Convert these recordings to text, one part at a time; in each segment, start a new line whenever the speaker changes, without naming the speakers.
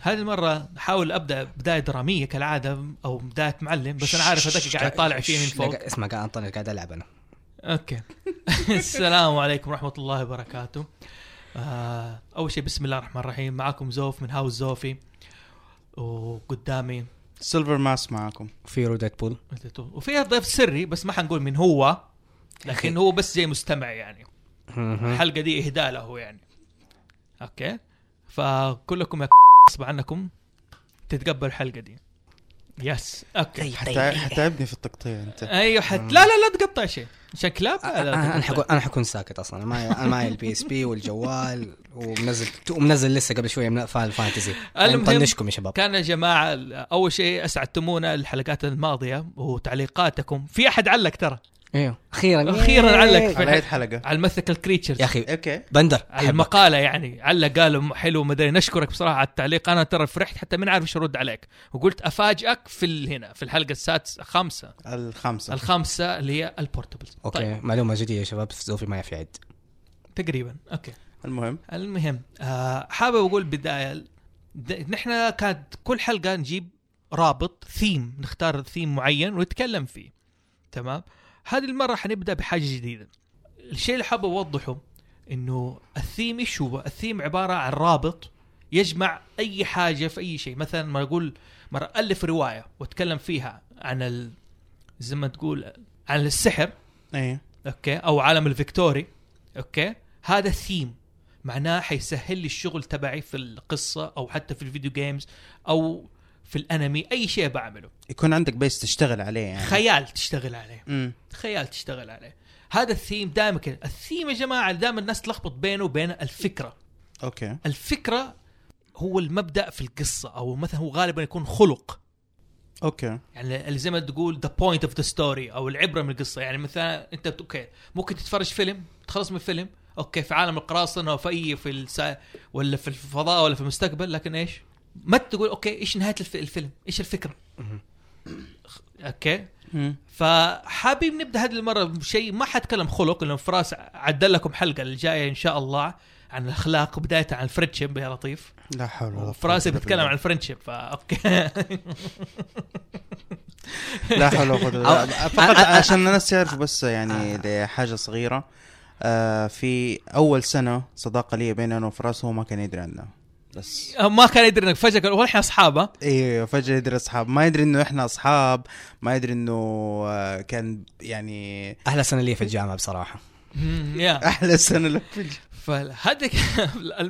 هذه المرة حاول ابدا بداية درامية كالعادة او بداية معلم بس انا عارف هذاك قاعد يطالع فيه من
شش،
فوق
لا، اسمع قاعد انطر قاعد العب انا
اوكي السلام عليكم ورحمة الله وبركاته آه اول شيء بسم الله الرحمن الرحيم معاكم زوف من هاوس زوفي وقدامي
سيلفر ماس معاكم
فيرو ديدبول
وفيها ضيف سري بس ما حنقول من هو لكن هو بس زي مستمع يعني
أه،
الحلقه دي اهداء له يعني اوكي فكلكم يا غصب عنكم تتقبل الحلقه دي يس اوكي
حتع- حتعبني في التقطيع انت
ايوه حت... لا لا لا تقطع شيء عشان كلاب
أه،
لا لا
انا
تقطع.
حكون انا حكون ساكت اصلا انا معي انا معي البي اس بي والجوال ومنزل ومنزل لسه قبل شويه من فاينل فانتزي يعني
المهم-
مطنشكم يا شباب
كان يا جماعه اول شيء اسعدتمونا الحلقات الماضيه وتعليقاتكم في احد علق ترى
ايوه اخيرا
أخيراً علق.
على اي حلقه
على المثل الكريتشرز
يا اخي
اوكي
بندر
على المقاله يعني علق قال حلو ما ادري نشكرك بصراحه على التعليق انا ترى فرحت حتى من عارف ايش ارد عليك وقلت افاجئك في ال- هنا في الحلقه السادسه خمسة
الخمسه
الخامسه اللي هي طيب، البورتبلز
اوكي معلومه جديده يا شباب زوفي ما يعرف يعد
تقريبا اوكي
المهم
المهم آه حابب اقول بدايه د- نحن كانت كل حلقه نجيب رابط ثيم نختار ثيم معين ونتكلم فيه تمام هذه المره حنبدا بحاجه جديده الشيء اللي حابب اوضحه انه الثيم ايش هو الثيم عباره عن رابط يجمع اي حاجه في اي شيء مثلا ما اقول مره الف روايه واتكلم فيها عن ال... زي ما تقول عن السحر
ايه
اوكي او عالم الفيكتوري اوكي هذا ثيم معناه حيسهل لي الشغل تبعي في القصه او حتى في الفيديو جيمز او في الانمي اي شيء بعمله
يكون عندك بيس تشتغل عليه يعني
خيال تشتغل عليه
امم
خيال تشتغل عليه هذا الثيم دائما كده الثيم يا جماعه دائما الناس تلخبط بينه وبين الفكره
اوكي
الفكره هو المبدا في القصه او مثلا هو غالبا يكون خلق
اوكي
يعني اللي زي ما تقول ذا بوينت اوف ذا ستوري او العبره من القصه يعني مثلا انت بت- اوكي ممكن تتفرج فيلم تخلص من الفيلم اوكي في عالم القراصنه او في اي في السا... ولا في الفضاء ولا في المستقبل لكن ايش؟ ما تقول اوكي ايش نهايه الف... الفيلم؟ ايش الفكره؟ اوكي
امم
فحابين نبدا هذه المره بشيء ما حتكلم خلق لانه فراس عدل لكم حلقه الجايه ان شاء الله عن الاخلاق وبدايه عن الفريندشيب يا لطيف
لا حول ولا
فراسي
قوة إلا
بيتكلم
بالله.
عن الفرنشيب فاوكي
لا حول ولا قوه إلا بالله. فقط عشان الناس يعرفوا بس يعني لحاجه صغيره آه في اول سنه صداقه لي بين انا وفراس هو ما كان يدري عنها بس
ما كان يدري انك فجاه قال، واحنا اصحابه
ايوه فجاه يدري اصحاب ما يدري انه احنا اصحاب ما يدري انه آه، كان يعني
احلى سنه لي في الجامعه بصراحه
مم، يا
احلى سنه لك في الج-
فهذه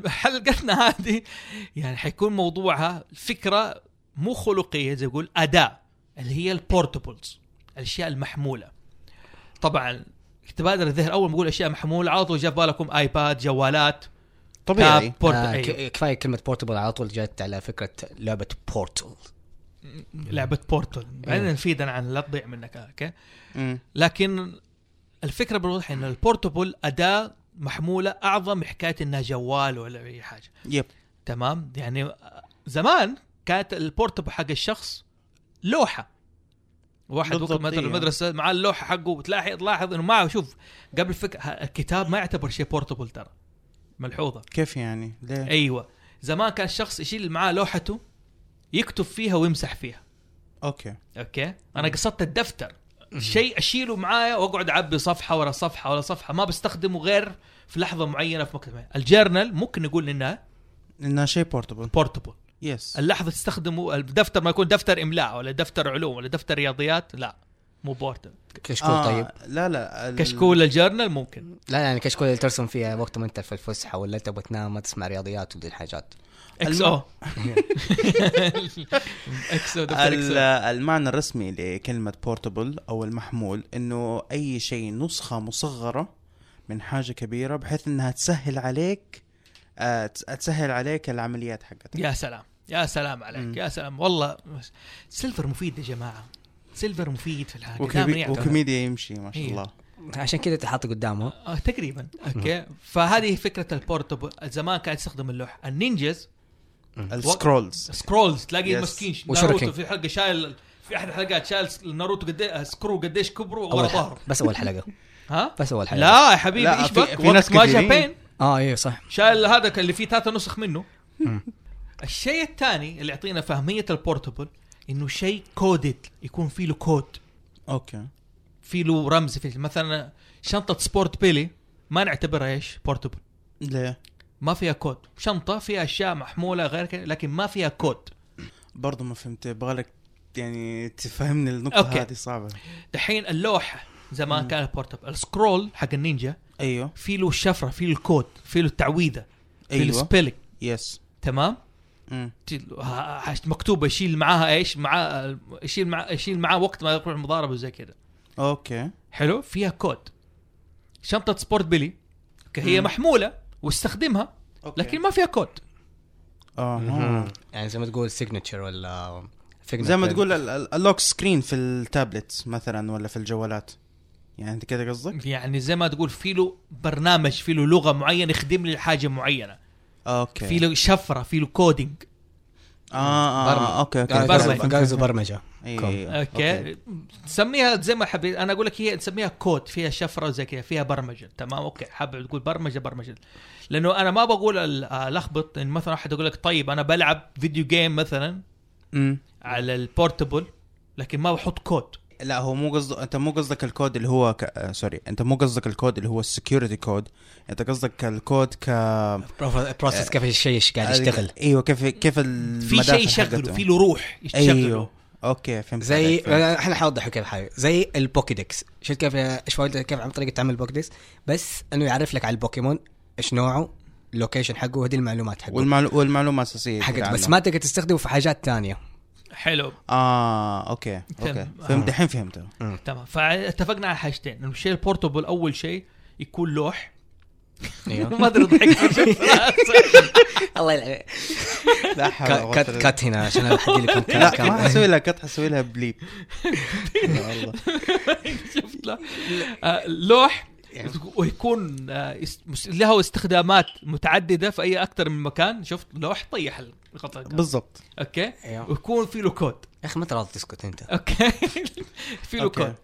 حلقتنا هذه يعني حيكون موضوعها الفكره مو خلقيه زي يقول اداه اللي هي البورتبلز الاشياء المحموله طبعا تبادر الذهن اول ما اقول اشياء محموله على طول جاء في بالكم ايباد جوالات
طبيعي
تاب بورت
آه،
أيوه.
ك- كفايه كلمه بورتبل على طول جت على فكره لعبه بورتل
آه. لعبه بورتل
إيه.
بعدين نفيد عن لا تضيع منك اوكي
مم.
لكن الفكره بالوضح ان البورتبل اداه محموله اعظم من حكايه انها جوال ولا اي حاجه
يب
تمام يعني زمان كانت البورتبل حق الشخص لوحه واحد
بالضبط،
وقت ما يدخل
إيه.
المدرسه معاه اللوحه حقه وتلاحظ تلاحظ انه معه شوف قبل فك... ه- الكتاب ما يعتبر شيء بورتبل ترى ملحوظه
كيف يعني؟ ليه؟
ايوه زمان كان الشخص يشيل معاه لوحته يكتب فيها ويمسح فيها
اوكي
اوكي انا
إيه.
قصدت الدفتر شيء اشيله معايا واقعد اعبي صفحه ورا صفحه ورا صفحه ما بستخدمه غير في لحظه معينه في مكتبه الجورنال ممكن نقول انها
انها شيء بورتبل
بورتبل
يس
اللحظه تستخدمه الدفتر ما يكون دفتر املاء ولا دفتر علوم ولا دفتر رياضيات لا مو بورتبل
كشكول آه. طيب
لا لا ال-
كشكول الجورنال ممكن
لا يعني كشكول اللي ترسم فيها وقت ما انت في الفسحه ولا تبغى تنام ما تسمع رياضيات ودي الحاجات
اكس او اكس او دفتر
ال-
اكس
المعنى الرسمي لكلمة بورتبل أو المحمول إنه أي شيء نسخة مصغرة من حاجة كبيرة بحيث إنها تسهل عليك آه، تس- تسهل عليك العمليات حقتك
يا سلام يا سلام عليك
مم.
يا سلام والله سيلفر مفيد يا جماعه سيلفر مفيد في الحاجه دائما
وكبي-
يعتمد.
وكوميديا يمشي ما شاء
إيه.
الله
عشان كذا تحط قدامه
آه تقريبا اوكي فهذه فكره البورتبل زمان كانت تستخدم اللوح النينجز
السكرولز
سكرولز تلاقي
Yes.
مسكين
وشوريكن.
ناروتو في حلقه شايل في احد الحلقات شايل ناروتو قد إيه- سكرو قديش كبره ورا
اول حلقة.
ظهره
بس اول حلقه
ها
بس اول حلقه
لا يا حبيبي
لا،
ايش
في-
بك
في ناس
وقت ما جا
كثيرين.
بين
اه ايوه إيه، صح
شايل هذا كان اللي فيه ثلاثة نسخ منه الشيء الثاني اللي يعطينا فهميه البورتبل انه شيء كودد يكون في له كود
اوكي
في له رمز في مثلا شنطه سبورت بيلي ما نعتبرها ايش بورتبل
ليه؟
ما فيها كود شنطه فيها اشياء محموله غير كذا لكن ما فيها كود
برضه ما فهمت يبغالك يعني تفهمني النقطة
أوكي.
هذه صعبة
دحين اللوحه زمان
مم.
كانت بورتبل السكرول حق النينجا
ايوه
في له شفره في له الكود في له التعويذه في له
ايوه
سبيلينج
يس
تمام
مم.
تل- ها- ها- مكتوبه يشيل معاها ايش معاه يشيل معاه يشيل معاه وقت ما يروح المضاربه وزي كذا
اوكي
حلو فيها كود شنطه سبورت بيلي أوكي، هي
مم.
محموله واستخدمها
اوكي
لكن ما فيها كود
اه
يعني زي ما تقول سيجنتشر ولا فيجمنت
زي ما
بين-
تقول ال- ال- اللوك سكرين في التابلت مثلا ولا في الجوالات يعني انت كده قصدك؟
يعني زي ما تقول في له برنامج في له لغه معينه يخدم لي حاجه معينه
اوكي
في له شفره في له كودينج
اه اه اوكي اوكي
قال-
برمجة.
قال- قال زي برمجه
أيوة،
كوم.
أيوة.
اوكي تسميها زي ما حبيت انا اقول لك هي تسميها كود فيها شفره زي كذا فيها برمجه تمام اوكي حابب تقول برمجه برمجه لانه انا ما بقول ال- الخبط ان مثلا احد يقول لك طيب انا بلعب فيديو جيم مثلا
مم.
على البورتبل لكن ما بحط كود
لا هو مو قصدك انت مو قصدك الكود اللي هو ك... آه، سوري انت مو قصدك الكود اللي هو السكيورتي كود انت قصدك الكود ك
بروسس كيف الشيء ايش قاعد يشتغل
ايوه كيف كيف
يعني في شيء يشغله في له روح يشغله
ايوه اوكي فهمت
زي
عليك، فهمت.
احنا حوضحه كيف حاجه زي البوكيدكس شفت كيف ايش فايدته كيف عن طريقه عمل البوكيدكس بس انه يعرف لك على البوكيمون ايش نوعه اللوكيشن حقه وهذه المعلومات حقه
والمعلو... والمعلومه الاساسيه كده
حقته بس
عنه.
ما تقدر تستخدمه في حاجات تانية
حلو
اه اوكي اوكي
تم.
فهمت الحين فهمت
تمام فاتفقنا على حاجتين انه الشيء البورتبل اول شيء يكون لوح
ايوه
ما ادري ضحكت
الله يلعن
لا حول ولا قوة
كات
إلا
كات هنا عشان الحد اللي كان
لا
كان-
ما حسوي لها كت حسوي لها بليب لا والله
شفت له آه، لوح ويكون آه، يست- مس- له استخدامات متعدده في اي اكثر من مكان شفت لوح طيح القطعه
بالضبط
اوكي
أيوه.
ويكون في له كود
يا اخي ما تراضي تسكت انت
اوكي في له
أوكي.
كود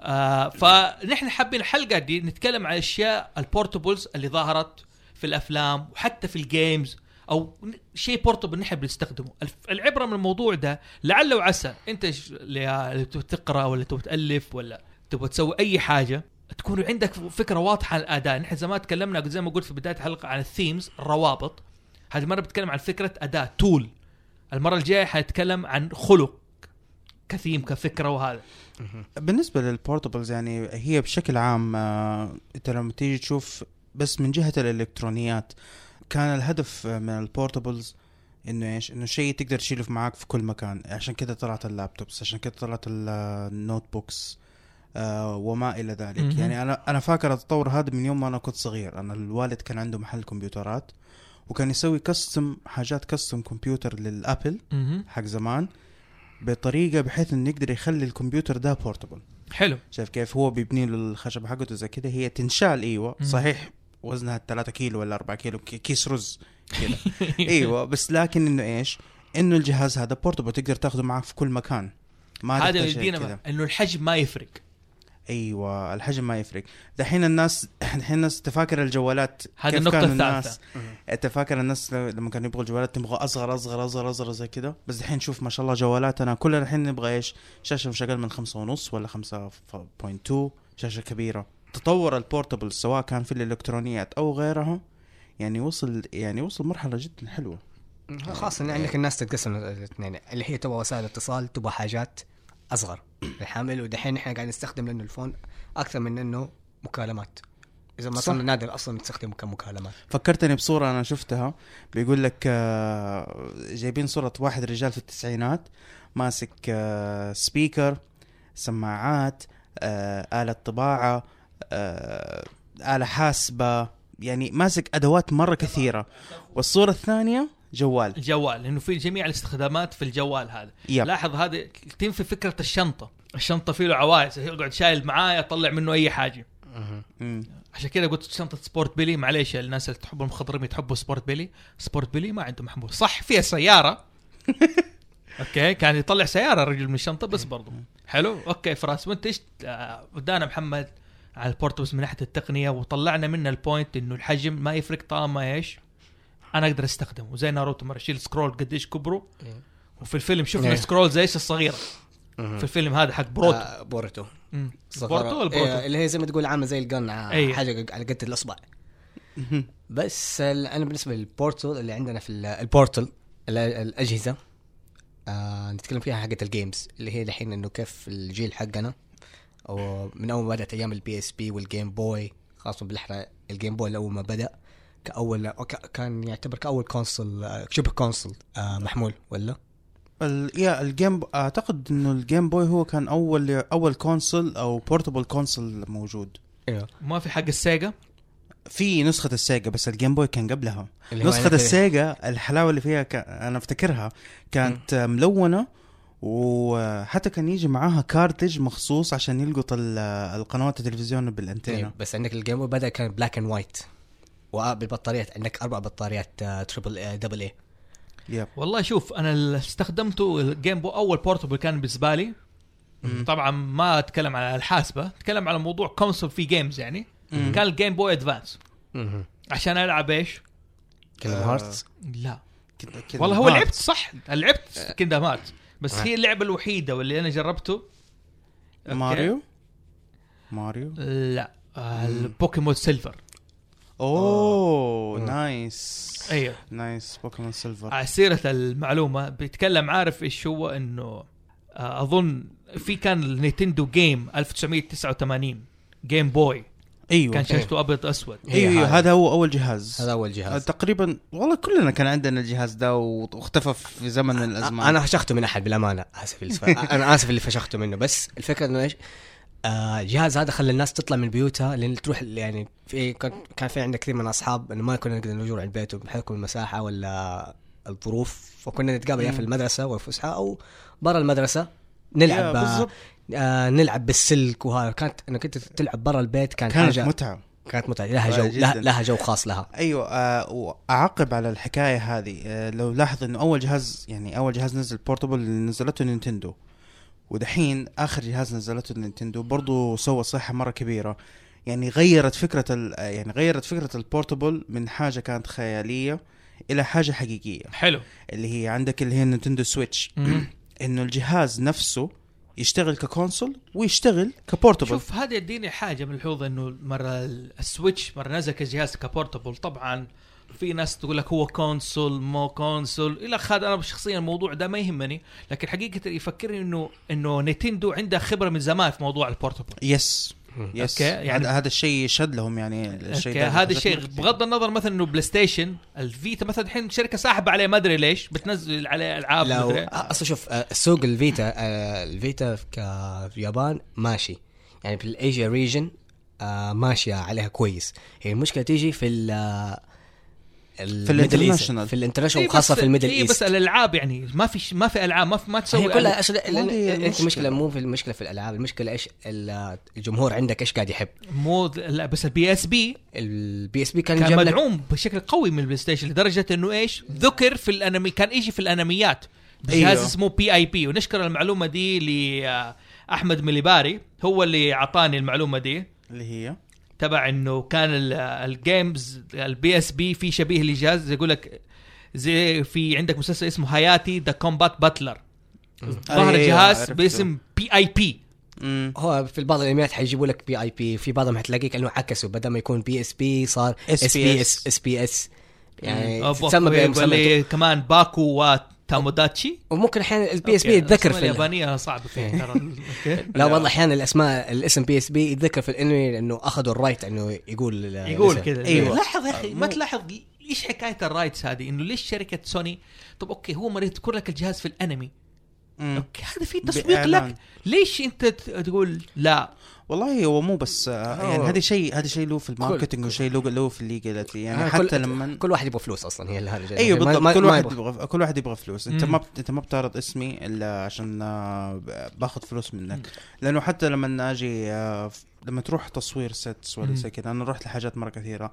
آه فنحن حابين الحلقه دي نتكلم عن اشياء البورتبلز اللي ظهرت في الافلام وحتى في الجيمز او ن- شيء بورتبل نحن بنستخدمه الف- العبره من الموضوع ده لعل وعسى انت ش- اللي اللي تبغى تقرا ولا تبغى تالف ولا تبغى تسوي اي حاجه تكون عندك فكره واضحه عن الاداء نحن زمان تكلمنا زي ما قلت في بدايه الحلقه عن الثيمز الروابط هذه المره بتكلم عن فكره اداه تول المره الجايه حنتكلم عن خلق كثيم كفكره وهذا
بالنسبه للبورتبلز يعني هي بشكل عام آه، انت لما تيجي تشوف بس من جهه الالكترونيات كان الهدف آه، من البورتبلز انه ايش؟ انه شيء تقدر تشيله معاك في كل مكان، عشان كذا طلعت اللابتوبس، عشان كذا طلعت ال- النوت بوكس آه وما الى ذلك،
مهم.
يعني انا انا فاكر التطور هذا من يوم ما انا كنت صغير، انا الوالد كان عنده محل كمبيوترات وكان يسوي كستم حاجات كستم كمبيوتر للابل حق زمان بطريقه بحيث انه يقدر يخلي الكمبيوتر ده بورتبل
حلو
شايف كيف هو بيبني له الخشب حقته زي كده هي تنشال ايوه
مم.
صحيح وزنها 3 كيلو ولا 4 كيلو كي- كيس رز كده
أيوة.
ايوه بس لكن انه ايش؟ انه الجهاز هذا بورتبل تقدر تاخذه معك في كل مكان ما
هذا
تحتاج شيء
يدينا
كده
انه الحجم ما يفرق
ايوه الحجم ما يفرق دحين الناس دحين الناس تفاكر الجوالات
هذه
كيف
النقطة
كانوا
الثالثة.
مم.
الناس تفاكر الناس لما كانوا يبغوا الجوالات تبغى اصغر اصغر اصغر اصغر زي كده بس دحين شوف ما شاء الله جوالاتنا كلنا الحين نبغى ايش شاشه مش اقل من خمسة ونص ولا 5.2 شاشه كبيره تطور البورتبل سواء كان في الالكترونيات او غيرها يعني وصل يعني وصل مرحله جدا حلوه
خاصة إن
إيه.
عندك الناس تتقسم الاثنين اللي هي تبغى وسائل اتصال تبغى حاجات اصغر للحمل ودحين احنا قاعدين نستخدم لانه الفون اكثر من انه مكالمات اذا ما
صح.
صرنا نادر اصلا نستخدمه كمكالمات
فكرتني بصورة أنا شفتها بيقول لك آه، جايبين صورة واحد رجال في التسعينات ماسك آه، سبيكر سماعات آه، آلة طباعة آه، آلة حاسبة يعني ماسك أدوات مرة كثيرة والصورة الثانية جوال
الجوال لانه في جميع الاستخدامات في الجوال هذا
يب
لاحظ هذا تنفي فكرة الشنطة الشنطة فيه له عوائز يقعد شايل معاه يطلع منه اي حاجة
مم.
عشان كذا قلت شنطة سبورت بيلي معليش يا الناس اللي تحب المخضرمي تحبوا سبورت بيلي سبورت بيلي ما عنده محمول صح فيها سيارة اوكي كان يطلع سيارة الرجل من الشنطة
إيه.
بس برضو حلو اوكي فراس وانت ايش آه، ودانا محمد على البورتبس من ناحية التقنية وطلعنا منه البوينت انه الحجم ما يفرق طالما ايش انا اقدر استخدمه زي ناروتو مره شيل سكرول قديش كبره
إيه.
وفي الفيلم شفنا
إيه.
سكرول زي ايش الصغيره في الفيلم هذا حق بروتو
آه، بوروتو
مم.
صغيرة.
بروتو ولا
إيه،
بروتو؟
اللي هي زي ما تقول عامله زي الجن
أيوة.
آه، حاجه على قد الاصبع بس ال- انا بالنسبه للبورتل اللي عندنا في ال- البورتل ال- الاجهزه آه نتكلم فيها حقه الجيمز اللي هي الحين انه كيف الجيل حقنا أو من اول ما بدات ايام البي اس بي والجيم بوي خاصه بالاحرى الجيم بوي اول ما بدا كاول وك- كان يعتبر كاول كونسول آه، شبه كونسول آه محمول ولا
ال... يا الجيم اعتقد انه الجيم بوي هو كان اول اول كونسول او بورتبل كونسول موجود
ايوه
ما في حق السيجا
في نسخة السيجا بس الجيم بوي كان قبلها
اللي هو
نسخة
يعني-
السيجا الحلاوة اللي فيها ك... انا افتكرها كانت ملونة وحتى كان يجي معاها كارتج مخصوص عشان يلقط ال- القنوات التلفزيون بالانتينا
طيب بس عندك الجيم بوي بدا كان بلاك اند وايت وبالبطاريات عندك اربع بطاريات آه، تريبل آه، دبل اي
يب
والله شوف انا اللي استخدمته الجيم بو اول بورتبل كان بالنسبه لي طبعا ما اتكلم على الحاسبه اتكلم على موضوع كونسول في جيمز يعني
مم.
كان الجيم بوي ادفانس عشان العب ايش؟
كينجدم
آه.
هارتس
لا
كده- كده
والله هو
مات.
لعبت صح لعبت كذا مات بس
آه.
هي اللعبه الوحيده واللي انا جربته أوكي.
ماريو ماريو
لا آه، البوكيمون سيلفر
اوه نايس
ايوه
نايس بوكيمون سيلفر
على آه، سيرة المعلومة بيتكلم عارف ايش هو انه آه، اظن في كان النينتندو جيم 1989 جيم بوي
ايوه
كان شاشته ابيض اسود
ايوه,
هي
أيوه
هذا.
هذا هو اول جهاز
هذا اول جهاز
تقريبا والله كلنا كان عندنا الجهاز ده واختفى في زمن الازمان
انا فشخته من احد بالامانه اسف الف... انا اسف اللي فشخته منه بس الفكره انه ايش؟ آه، الجهاز هذا خلى الناس تطلع من بيوتها لان تروح يعني في كان- كان في عندنا كثير من اصحاب انه ما كنا نقدر نجور على البيت بحكم المساحه ولا الظروف فكنا نتقابل يا في
مم.
المدرسه والفسحه او برا المدرسه
يا
نلعب آه
بالضبط
آه نلعب بالسلك وهذا كانت انك انت تلعب برا البيت كان
كانت
حاجه
متعه
كانت متعه لها
آه،
جو لها,
جداً.
لها جو خاص لها
ايوه آه واعقب على الحكايه هذه آه لو لاحظ انه اول جهاز يعني اول جهاز نزل بورتبل اللي نزلته نينتندو ودحين اخر جهاز نزلته نينتندو برضو سوى صيحه مره كبيره يعني غيرت فكره ال- آه، يعني غيرت فكره البورتبل من حاجه كانت خياليه الى حاجه حقيقيه
حلو
اللي هي عندك اللي هي نينتندو سويتش
مم.
انه الجهاز نفسه يشتغل ككونسول ويشتغل كبورتبل
شوف هذا يديني حاجه ملحوظه انه مره السويتش مره نزل كجهاز كبورتبل طبعا في ناس تقول لك هو كونسول مو كونسول الى اخره انا شخصيا الموضوع ده ما يهمني لكن حقيقه يفكرني انه انه نينتندو عندها خبره من زمان في موضوع البورتبل
يس يس
أوكي، يعني-
يعني هذا الشيء شد لهم يعني الشيء
أوكي،
ده
هذا الشيء بغض النظر مثلا انه بلاي ستيشن الفيتا مثلا الحين شركه ساحبه عليه ما ادري ليش بتنزل عليه العاب ما
لو
ادري
اصلا شوف آه، سوق الفيتا آه، الفيتا في ك- في اليابان ماشي يعني في الايجيا ريجن ماشيه عليها كويس هي المشكله تيجي في ال آه، في
الانترناشونال.
في
إيه
الانترناشونال
بس-
وخاصه في الميدل
إيه بس يعني.
ايست
الالعاب يعني ما في ما في العاب ما في ما تسوي
هي كلها اصلا
هذه
انت
المشكلة.
المشكله مو في المشكله في الالعاب المشكله ايش ال- الجمهور عندك ايش قاعد يحب
مو لا بس البي اس بي
البي اس بي كان
كان
جاب لك
مدعوم بشكل قوي من البلاي ستيشن لدرجه انه ايش ذكر في الانمي كان يجي في الانميات جهاز
أيوه.
اسمه بي اي بي ونشكر المعلومه دي لاحمد مليباري هو اللي اعطاني المعلومه دي
اللي هي
تبع انه كان ال- آه، الجيمز البي اس بي في شبيه لجهاز يقول لك زي في عندك مسلسل اسمه هاياتي ذا كومبات باتلر
أيوة،
ظهر
أيوه،
جهاز
عرفته.
باسم بي اي بي
إيه،
امم
هو في بعض الانميات حيجيبوا لك بي اي بي في بعضهم حتلاقيك انه عكسوا بدل ما يكون بي اس بي صار
SPS.
اس بي اس اس بي اس يعني
أبو
تسمى
أخوي
بمسمى
ولي كمان باكو وتاموداتشي
وممكن احيانا البي اس بي يتذكر في ال-
اليابانيه صعبه فيها ترى أوكي.
لا والله احيانا الاسماء الاسم بي اس بي يتذكر في الانمي لانه اخذوا الرايت انه يقول ال-
يقول
الاسم. أيوه.
كذا
أيوة.
لاحظ يا اخي ما تلاحظ ايش حكايه الرايتس هذه انه ليش شركه سوني طب اوكي هو مريض يذكر لك الجهاز في الانمي اوكي هذا في تسويق
بإعلان.
لك ليش انت ت- تقول لا
والله هو مو بس آه،
هو-
يعني هذا شيء هذا شيء له في الماركتنج وشيء له له في الليجاليتي يعني
آه،
حتى
كل-
إيه.
لما
كل واحد يبغى فلوس اصلا هي الهرجه
أيوه،
ايوه
ما-
بالضبط
ما-
كل
ما
واحد
يبغى.
يبغى كل واحد يبغى فلوس انت
مم.
ما بت- انت ما بتعرض اسمي الا عشان آه، ب- باخذ فلوس منك لانه حتى لما اجي آه، ف- لما تروح تصوير سيتس ولا
مم.
زي كذا انا رحت لحاجات مره كثيره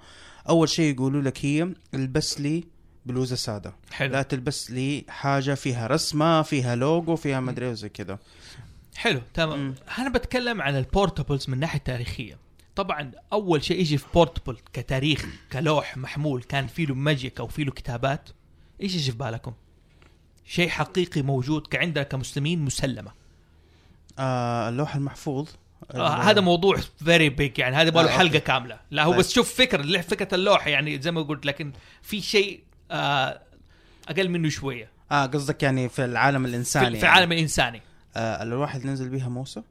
اول شيء يقولوا لك هي البس لي بلوزه ساده لا
حلو
تلبس لي حاجه فيها رسمه فيها لوجو فيها مدري وزي كذا
حلو تمام
مم.
انا بتكلم عن البورتبلز من ناحيه تاريخيه طبعا اول شيء يجي في بورتبل كتاريخ كلوح محمول كان في له ماجيك او في له كتابات ايش يجي في بالكم؟ شيء حقيقي موجود كعندنا كمسلمين مسلمه
آه اللوح المحفوظ
آه هذا موضوع فيري بيج يعني هذا
آه،
باله
أوكي.
حلقه كامله لا هو
طيب.
بس شوف فكره اللي- فكره اللوحه يعني زي ما قلت لكن في شيء آه اقل منه شويه
اه قصدك يعني في العالم
في,
الانساني
في العالم الانساني
آه الالواح اللي نزل بيها موسى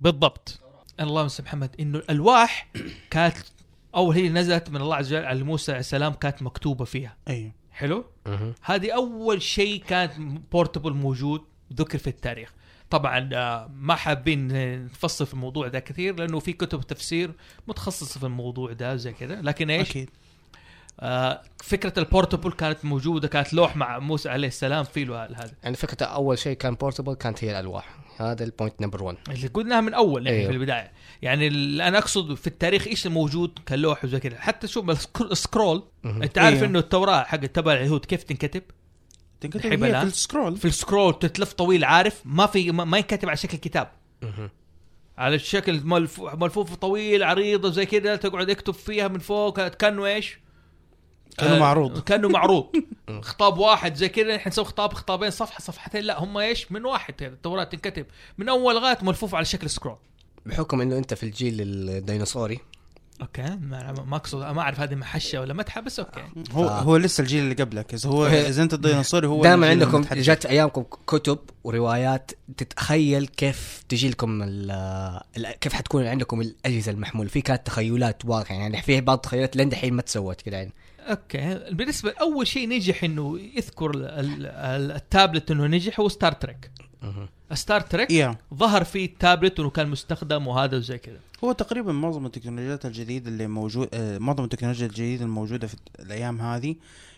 بالضبط اللهم صل محمد انه الالواح كانت اول هي نزلت من الله عز وجل على موسى عليه السلام كانت مكتوبه فيها
ايوه
حلو هذه اول شيء كانت بورتبل موجود ذكر في التاريخ طبعا آه، ما حابين آه، نفصل في الموضوع ده كثير لانه في كتب تفسير متخصصه في الموضوع ده زي كذا لكن ايش
اكيد
آه فكره البورتبل كانت موجوده كانت لوح مع موسى عليه السلام في له هذا
يعني فكرة اول شيء كان بورتبل كانت هي الالواح هذا البوينت نمبر 1
اللي قلناها من اول يعني أيوه.
أيوه.
في البدايه يعني ال- انا اقصد في التاريخ ايش الموجود كلوح وزي كذا حتى شوف السكر- السكرول
مهم.
انت عارف
أيوه.
انه التوراه حق تبع اليهود كيف تنكتب
تنكتب هي
الحبل،
في
ها؟
السكرول
في السكرول تتلف طويل عارف ما في ما, ما ينكتب على شكل كتاب على الشكل ملف- ملفوف طويل عريضه زي كذا تقعد اكتب فيها من فوق كانه ايش؟
كانه
آه،
معروض
كانه معروض خطاب واحد زي كذا نحن نسوي خطاب خطابين صفحه صفحتين لا هم ايش؟ من واحد يعني التوراه تنكتب من اول لغايه ملفوف على شكل سكرول
بحكم انه انت في الجيل الديناصوري
اوكي ما ما اقصد ما اعرف هذه محشه ولا متحه بس اوكي
هو
آه.
هو لسه الجيل اللي قبلك اذا هو
إيه.
اذا انت الديناصوري هو
دائما
الجيل
عندكم
المتحدث.
جات ايامكم كتب وروايات تتخيل كيف تجي لكم ال- ال- كيف حتكون عندكم الاجهزه المحموله في كانت تخيلات واقع يعني في بعض التخيلات لين دحين ما تسوت كذا يعني
اوكي بالنسبه اول شيء نجح انه يذكر ال- ال- ال- التابلت انه نجح هو ستار تريك ستار تريك
يا
ظهر فيه التابلت انه كان مستخدم وهذا وزي كذا
هو تقريبا معظم التكنولوجيات الجديدة اللي موجود آه، معظم التكنولوجيا الجديدة الموجودة في الأيام هذه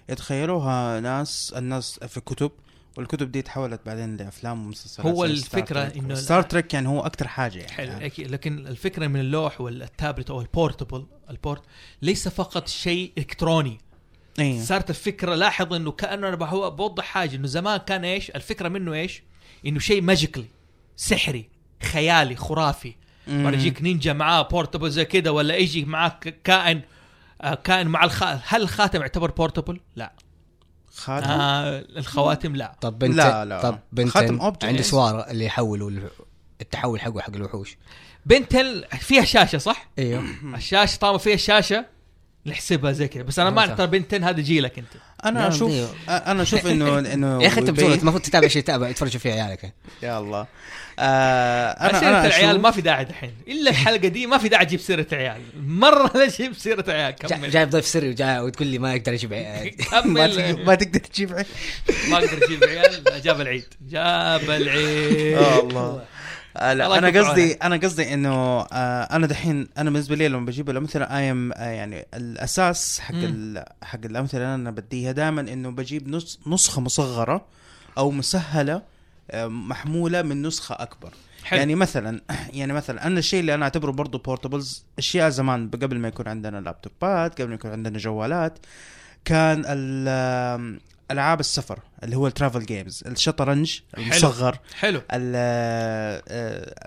يتخيلوها ناس الناس في كتب والكتب دي تحولت بعدين لأفلام ومسلسلات
هو
زي
الفكرة
ستار تريك.
إنه-
ستار تريك يعني هو أكتر حاجة يعني
حلو إيه. أكيد. لكن الفكره من اللوح والتابلت او البورتبل البورت ليس فقط شيء الكتروني
أيه.
صارت الفكره لاحظ انه كانه انا بحو- بوضح حاجه انه زمان كان ايش الفكره منه ايش انه شيء ماجيكلي سحري خيالي خرافي
مم.
مرة يجيك نينجا معاه بورتبل زي كذا ولا يجي معاك كائن آه، كائن مع الخ... هل الخاتم يعتبر بورتبل؟ لا
خاتم آه.
آه الخواتم لا
طب بنت
لا، لا.
طب
خاتم
بنت
object.
عندي سوار اللي يحولوا ال- التحول حقه حق الوحوش
بنتل فيها شاشه صح؟
ايوه
الشاشه طالما فيها شاشه نحسبها زي كذا بس انا ما
نعم،
اعرف
صح.
ترى بنتين هذا جيلك انت
أنا
لا،
أشوف
دي-
آه، أنا أشوف إنه إنه
يا اخي انت
ويبين-
بتقول المفروض تتابع شيء تتابع يتفرجوا فيه عيالك
يا الله آه
انا
أنا
سيره
أنا
العيال
أشوف
ما في داعي دحين الا الحلقه دي ما في داعي تجيب سيره عيال مره لا تجيب سيره عيال
جا-
كمل
جايب ضيف سري وجاي وتقول لي ما اقدر اجيب عيال
ما
كمل
تقدر- ما تقدر تجيب عيال
ما اقدر اجيب عيال لا، جاب العيد جاب العيد
آه، الله آه،
الله
لا انا
يكون في
قصدي انا قصدي انه آه انا دحين انا بالنسبه لي لما بجيب الامثله اي ام يعني الاساس حق
مم.
ال- حق الامثله اللي انا بديها دائما انه بجيب نس نسخه مصغره او مسهله آه، محموله من نسخه اكبر
حلو.
حلو. يعني مثلا يعني مثلا انا الشيء اللي انا اعتبره برضه بورتبلز اشياء زمان قبل ما يكون عندنا لابتوبات قبل ما يكون عندنا جوالات كان ال- آم، العاب السفر اللي هو الترافل جيمز الشطرنج
حلو.
المصغر
حلو
ال- آه،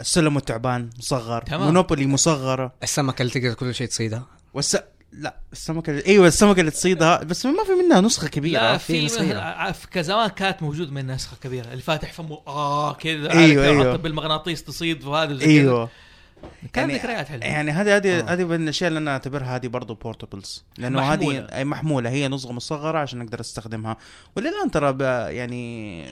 السلم والتعبان مصغر
تمام.
تمام. مونوبولي مصغره
السمكه اللي تقدر كل شيء تصيدها
والس... لا السمكه ايوه السمكه اللي تصيدها بس ما في منها نسخه
لا
كبيره
في
في
صغيرة.
ع- ع- كزمان كانت موجود من نسخه كبيره اللي فاتح فمه اه كذا
أيوة،
عارف
أيوة.
يعطب بالمغناطيس تصيد وهذا وزي كذا.
ايوه
كان
يعني-
ذكريات حلوه
يعني هذه هذه
آه.
هذه من الاشياء اللي انا اعتبرها هذه برضو بورتبلز لانه
محمولة.
هذه أي محموله هي نسخه مصغره عشان اقدر استخدمها وللان ترى ب- يعني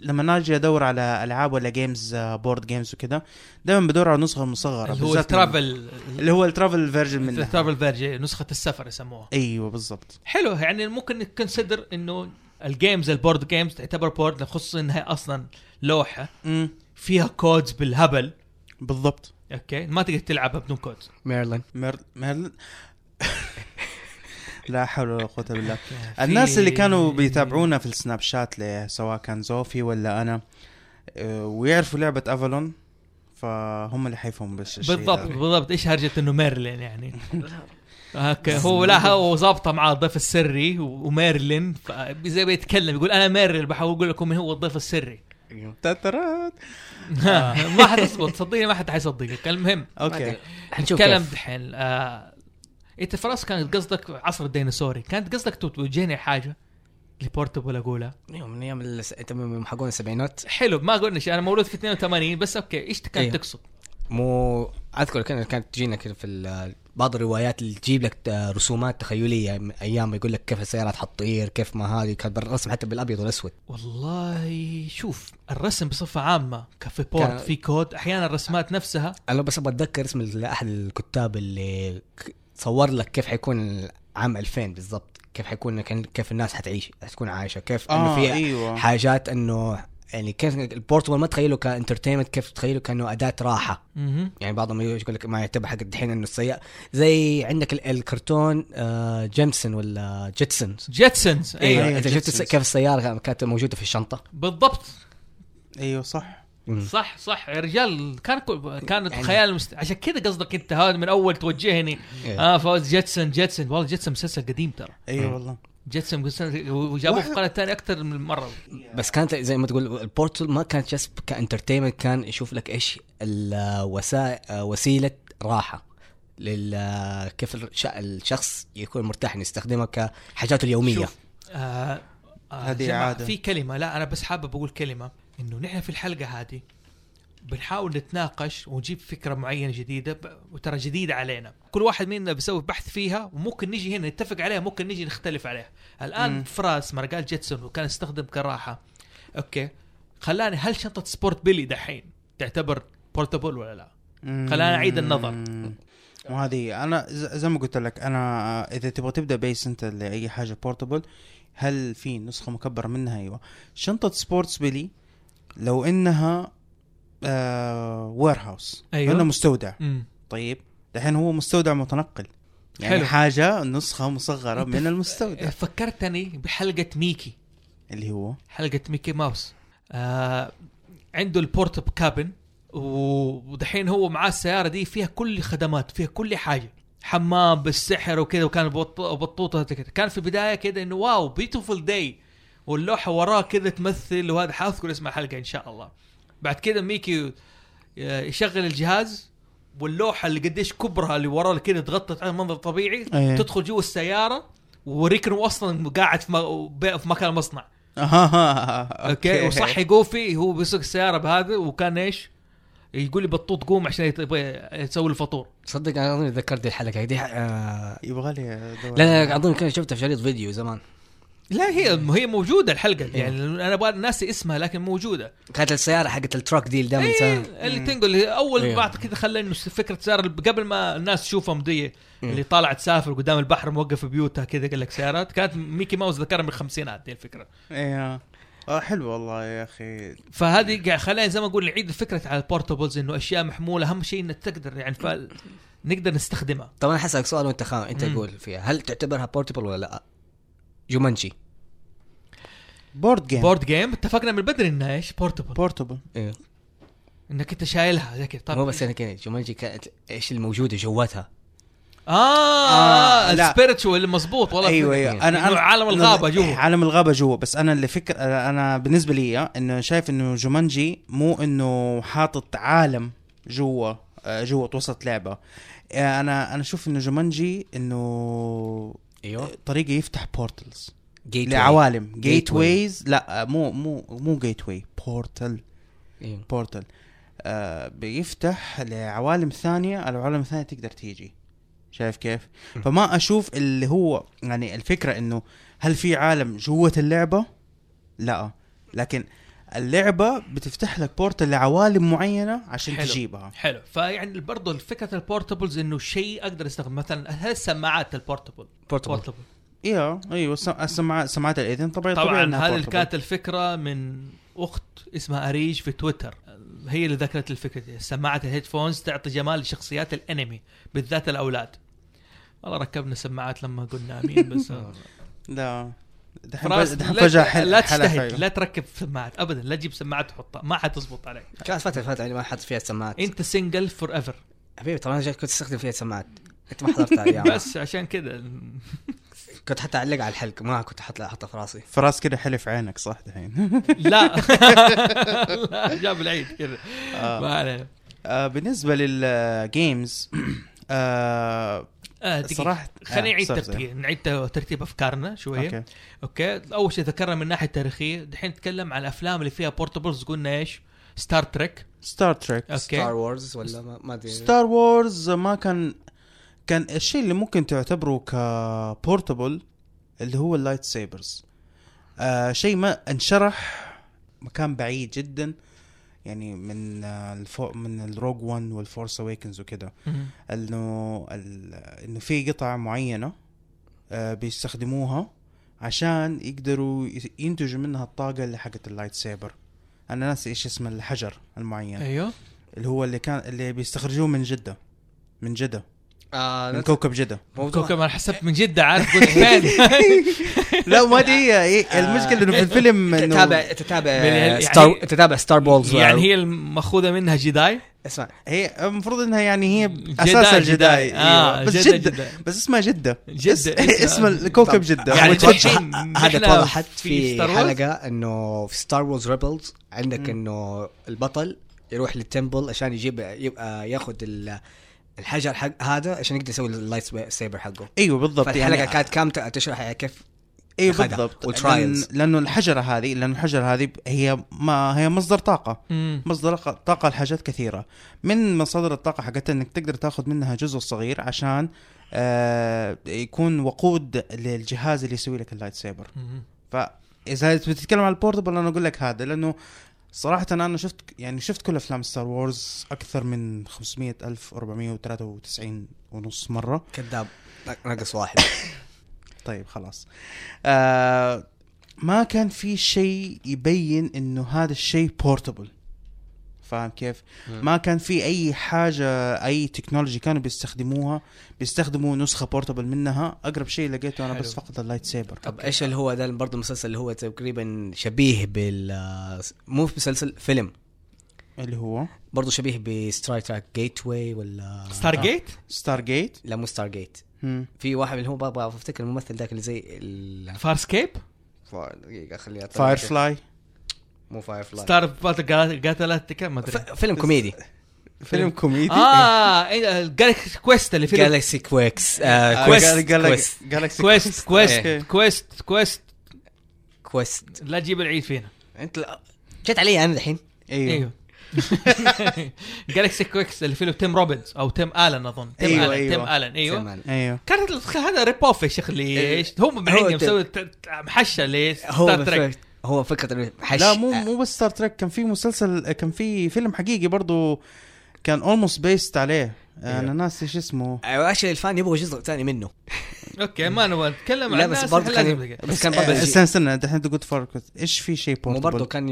لما ناجي ادور على العاب ولا جيمز بورد جيمز وكذا دائما بدور على نسخه مصغره
اللي هو
بالذات من-
الترافل
اللي هو الترافل فيرجن منها
الترافل فيرجن نسخه السفر يسموها
ايوه بالضبط
حلو يعني ممكن نكونسيدر انه الجيمز البورد جيمز تعتبر بورد خصوصا انها اصلا لوحه
مم.
فيها كودز بالهبل
بالضبط
اوكي ما تقدر تلعبها بدون كودز
ميرلين
مير... مير... لا حول ولا قوة إلا بالله الناس اللي كانوا بيتابعونا في السناب شات ل- سواء كان زوفي ولا أنا آه، ويعرفوا لعبة أفالون فهم اللي حيفهموا بس الشيء
بالضبط
ده.
بالضبط ايش هرجه انه ميرلين يعني اوكي هو لا هو ظابطه مع الضيف السري و- وميرلين ف- زي بيتكلم يقول انا ميرلين بحاول اقول لكم من هو الضيف السري
أيوه.
تترات
آه.
ما حتصبط صدقني ما حد حيصدقك المهم
ما
اوكي
أدري. حنشوف
نتكلم
كيف.
دحين آه، انت في راسك كانت قصدك عصر الديناصوري كانت قصدك تو- توجهني حاجه لبورتبل اقولها
أيوه، من ايام الس- تم- من حقون السبعينات
حلو ما قلنا شيء انا مولود في 82 بس اوكي ايش كانت
أيوه.
تقصد؟
مو اذكر كانت كانت تجينا كده في ال- بعض الروايات اللي تجيب لك آه، رسومات تخيليه من ايام يقول لك كيف السيارات حتطير كيف ما هذه كانت بالرسم حتى بالابيض والاسود
والله شوف الرسم بصفه عامه كفي بورت
كان-
في كود احيانا
آه.
الرسمات نفسها
انا بس ابغى اتذكر اسم ال- احد الكتاب اللي ك- صور لك كيف حيكون عام 2000 بالضبط كيف حيكون كان- كيف الناس حتعيش حتكون عايشه كيف انه
اه
في
ايوه
حاجات انه يعني كيف البورتبل ما تخيله كانترتينمنت كيف تخيله كانه اداه راحه
مهم.
يعني بعضهم يقول لك ما يعتبر حق الدحين انه السيء زي عندك ال- الكرتون آه، جيمسون ولا جيتسون
جيتسنز
ايوه
ايوه
أيوة،
انت شفت
جيتسونز.
الس- كيف السياره كانت موجوده في الشنطه
بالضبط
ايوه صح
مم.
صح صح يا رجال كان كل- كانت
يعني-
خيال مست... عشان كذا قصدك انت هذا من اول توجهني
إيه.
اه فوز جيتسون جيتسون والله جيتسون مسلسل قديم ترى
ايوه والله
جيتسون جيتسون وجابوه في قناه ثانيه اكثر من مره
بس كانت زي ما تقول البورتل ما كانت جس كانترتينمنت كان يشوف لك ايش الوسائل وسيله راحه آه، لل آه، كيف الش- الشخص يكون مرتاح انه يستخدمها كحاجاته اليوميه
شوف، آه آه
هذه
جماعة،
عادة.
في كلمه لا انا بس حابب اقول كلمه انه نحن في الحلقه هذه بنحاول نتناقش ونجيب فكره معينه جديده ب- وترى جديده علينا كل واحد منا بيسوي بحث فيها وممكن نجي هنا نتفق عليها ممكن نجي نختلف عليها الان
مم.
فراس ما قال جيتسون وكان يستخدم كراحه اوكي خلاني هل شنطه سبورت بيلي دحين تعتبر بورتابل ولا لا خلاني أعيد النظر.
مم. وهذه انا ز- زي ما قلت لك انا اذا تبغى تبدا بيس انت لاي حاجه بورتبل هل في نسخه مكبره منها ايوه شنطه سبورتس بيلي لو انها آه وير هاوس
أيوة.
انها مستودع
مم.
طيب دحين هو مستودع متنقل يعني
حلو.
حلو. حاجه نسخه مصغره من المستودع
فكرتني بحلقه ميكي
اللي هو
حلقه ميكي ماوس آه عنده البورتب كابن و- ودحين هو معاه السياره دي فيها كل خدمات فيها كل حاجه حمام بالسحر وكذا وكان بط- بطوطه كده كان في البدايه كده انه واو بيوتيفول داي واللوحه وراه كذا تمثل وهذا حاذكر اسم الحلقه ان شاء الله بعد كده ميكي آه، يشغل الجهاز واللوحه اللي قديش كبرها اللي وراه كده تغطت على منظر طبيعي
أيه.
تدخل جوه السياره وريكنو اصلا قاعد في م- في مكان المصنع اوكي وصحي جوفي هو بيسوق السياره بهذا وكان ايش؟ يقول لي بطوط قوم عشان يت- يبغى يسوي الفطور
تصدق انا اظن ذكرت الحلقه دي آه
يبغى لي أدور.
لا لا اظن كنت شفتها في شريط فيديو زمان
لا هي هي موجوده الحلقه دي، يعني انا ابغى ناسي اسمها لكن موجوده
كانت السياره حقت التراك دي اللي دائما
إيه،
تسا-
اللي تنقل هي اول
إيه.
بعد كذا خلى انه فكره سياره اللي قبل ما الناس تشوفها مضيه اللي طالعه تسافر قدام البحر موقف بيوتها كذا قال لك سيارات كانت ميكي ماوس ذكرها من الخمسينات دي الفكره
ايوه آه، حلو والله يا اخي
فهذه قاعد- خلينا زي ما اقول نعيد الفكره على البورتبلز انه اشياء محموله اهم شيء انك تقدر يعني ف- نقدر نستخدمها
طب انا حسألك سؤال وانت خام انت
مم.
قول فيها هل تعتبرها بورتبل ولا لا؟ جومانجي
بورد جيم
بورد جيم اتفقنا من بدري انها ايش بورتبل
بورتبل
ايه
انك انت شايلها زي كذا طيب. طب
مو بس انا كذا جومانجي كانت ايش الموجوده جواتها
اه, آه, آه
آه، لا.
السبيرتشوال مظبوط والله
ايوه
فكرة.
ايوه
يعني
إنه عالم
أنا-
الغابة جوا.
إيه، عالم الغابه جوا بس انا اللي فكر انا بالنسبه لي انه شايف انه جومانجي مو انه حاطط عالم جوا آه، جوا وسط لعبه آه، انا انا اشوف انه جومانجي انه
إيوه. أيوة.
ايوه
طريقه يفتح بورتلز
جيت
لعوالم
Gateway.
جيت ويز لا آه، مو مو مو جيت واي بورتل
ايوه
بورتل آه بيفتح لعوالم ثانية العوالم الثانية تقدر تيجي شايف كيف؟ فما اشوف اللي هو يعني الفكرة انه هل في عالم جوة اللعبة؟ لا لكن اللعبة بتفتح لك بورتل لعوالم معينة عشان
حلو.
تجيبها
حلو فيعني برضه فكره البورتبلز انه شيء اقدر استخدمه مثلا هل السماعات البورتبل
بورتبل
ايوه ايوه السم- السماعات سماعات الاذن طبعا طبيعي
طبعا
إنها
هذه
portable.
كانت الفكره من اخت اسمها اريج في تويتر هي اللي ذكرت الفكره دي سماعات الهيدفونز تعطي جمال لشخصيات الانمي بالذات الاولاد والله ركبنا سماعات لما قلنا امين بس
لا دحين
فراس،
فج- دحين
لا-
فجأة حل-
لا
حلقة
تجتهد
حلوة.
لا تركب سماعات ابدا لا تجيب سماعات تحطها ما حتزبط عليك
كانت فتره فتره اللي ما حط فيها سماعات
انت سنجل فور ايفر
حبيبي طبعا انا جاي كنت استخدم فيها سماعات انت ما حضرتها ايام
بس عشان كذا
يعني كنت حتى اعلق على الحلقه ما كنت حط حطها في راسي
فراس كده حلف عينك صح دحين
لا لا جاب العيد كذا ما عليه
آه بالنسبه للجيمز آه
آه دقيقة.
صراحه
خلينا
آه،
نعيد
sorry, sorry.
ترتيب نعيد ترتيب افكارنا شويه
اوكي
أوكي. اوكي اول شيء ذكرنا من ناحيه تاريخيه دحين نتكلم عن الافلام اللي فيها بورتبلز قلنا ايش ستار تريك
ستار تريك
ستار
اوكي
وورز ولا ما ما ادري
ستار وورز ما كان كان الشيء اللي ممكن تعتبره كبورتبل اللي هو اللايت سيبرز آه شيء ما انشرح مكان بعيد جدا يعني من آه الفو من الروج 1 والفورس اويكنز وكذا
مهم.
انه ال- انه في قطع معينه آه بيستخدموها عشان يقدروا ي- ينتجوا منها الطاقه اللي حقت اللايت سيبر انا ناسي ايش اسم الحجر المعين
ايوه
اللي هو اللي كان اللي بيستخرجوه من جده من جده
آه
من
نت-
كوكب جده
موضوع
كوكب انا حسبت من جده عارف قلت فين
لا ما دي
آه.
إيه، المشكله انه في الفيلم انه
تتابع تتابع
يعني-
ستار تتابع ستار وورز
يعني هي ماخوذه منها جداي
اسمع
هي المفروض انها يعني هي
جداي-
اساسها
جداي.
جداي
آه،
أيوة. بس
جدة-
جده
جدة.
بس اسمها جده
جدة،
اس-
إيه،
اسم
آه.
الكوكب
طب،
جده
يعني
هو
تحط-
جدة.
الحين
هذا
نحن
توضحت
في
في
Star Wars؟
حلقه انه في ستار وورز ريبلز
مم.
عندك انه البطل يروح للتمبل عشان يجيب يبقى ياخذ ال- الحجر حق هذا عشان يقدر يسوي اللايت سيبر حقه
ايوه بالضبط
فالحلقه كانت كامله تشرح يعني كيف
ايوه
أخذها.
بالضبط لأن
والtrials.
لانه الحجره هذه لانه الحجره هذه هي ما هي مصدر طاقه
مم.
مصدر طاقه لحاجات كثيره من مصادر الطاقه حقتها انك تقدر تاخذ منها جزء صغير عشان آه يكون وقود للجهاز اللي يسوي لك اللايت سيبر
مم.
فاذا بتتكلم عن البورتبل انا اقول لك هذا لانه صراحة أنا شفت يعني شفت كل أفلام ستار وورز أكثر من 500 ألف 493 ونص مرة
كذاب ناقص واحد
طيب خلاص آه ما كان في شيء يبين انه هذا الشيء بورتبل فاهم كيف؟
مم.
ما كان في اي حاجه اي تكنولوجي كانوا بيستخدموها بيستخدموا نسخه بورتبل منها اقرب شيء لقيته انا
حلو.
بس فقط اللايت سيبر
طب ايش اللي هو ده برضه مسلسل اللي هو تقريبا شبيه بال مو في مسلسل فيلم
اللي هو
برضه شبيه بستراي تراك جيت واي ولا
ستار جيت
ستار جيت
لا مو ستار جيت في واحد اللي هو بابا افتكر الممثل ذاك اللي زي ال...
فار سكيب
دقيقه خليني أطلع
فاير
لك.
فلاي
مو فاير فلاي
ستار باتل قاتلات ما ادري
ف... فيلم كوميدي
فيلم كوميدي
اه جالكسي كويست اللي فيلم
جالكسي كويكس آه
Quest.
كويست كويست
جالكسي
كويست
إيه.
كويست كويست كويست
كويست
لا تجيب العيد فينا
انت لا- جت علي انا الحين
ايوه
ايوه جالكسي كويكس اللي فيلم تيم روبنز او تيم الن اظن تيم
أيوه،
الن
أيوه.
تيم الن ايوه
سلمان.
ايوه
كانت الخ- هذا ريب اوف يا شيخ اللي
إيه.
ايش هم من
هو
عندي
ت-
مسوي ت- ت- محشه
هو
لستار تريك
فك- هو فكره إنه حش
لا مو
آه،
مو بس ستار تريك كان في مسلسل كان في فيلم حقيقي برضو كان اولموست بيست عليه انا
إيه.
أيوه.
ناسي ايش اسمه
آه، ايش الفان يبغى جزء ثاني منه
اوكي ما نبغى نتكلم عن
لا
الناس،
بس
إحنا
برضه
لازم
كان
نتكلم.
بس كان
آه،
برضه
استنى استنى دحين انت قلت فرق ايش في شيء
مو برضه
بورتبل
كان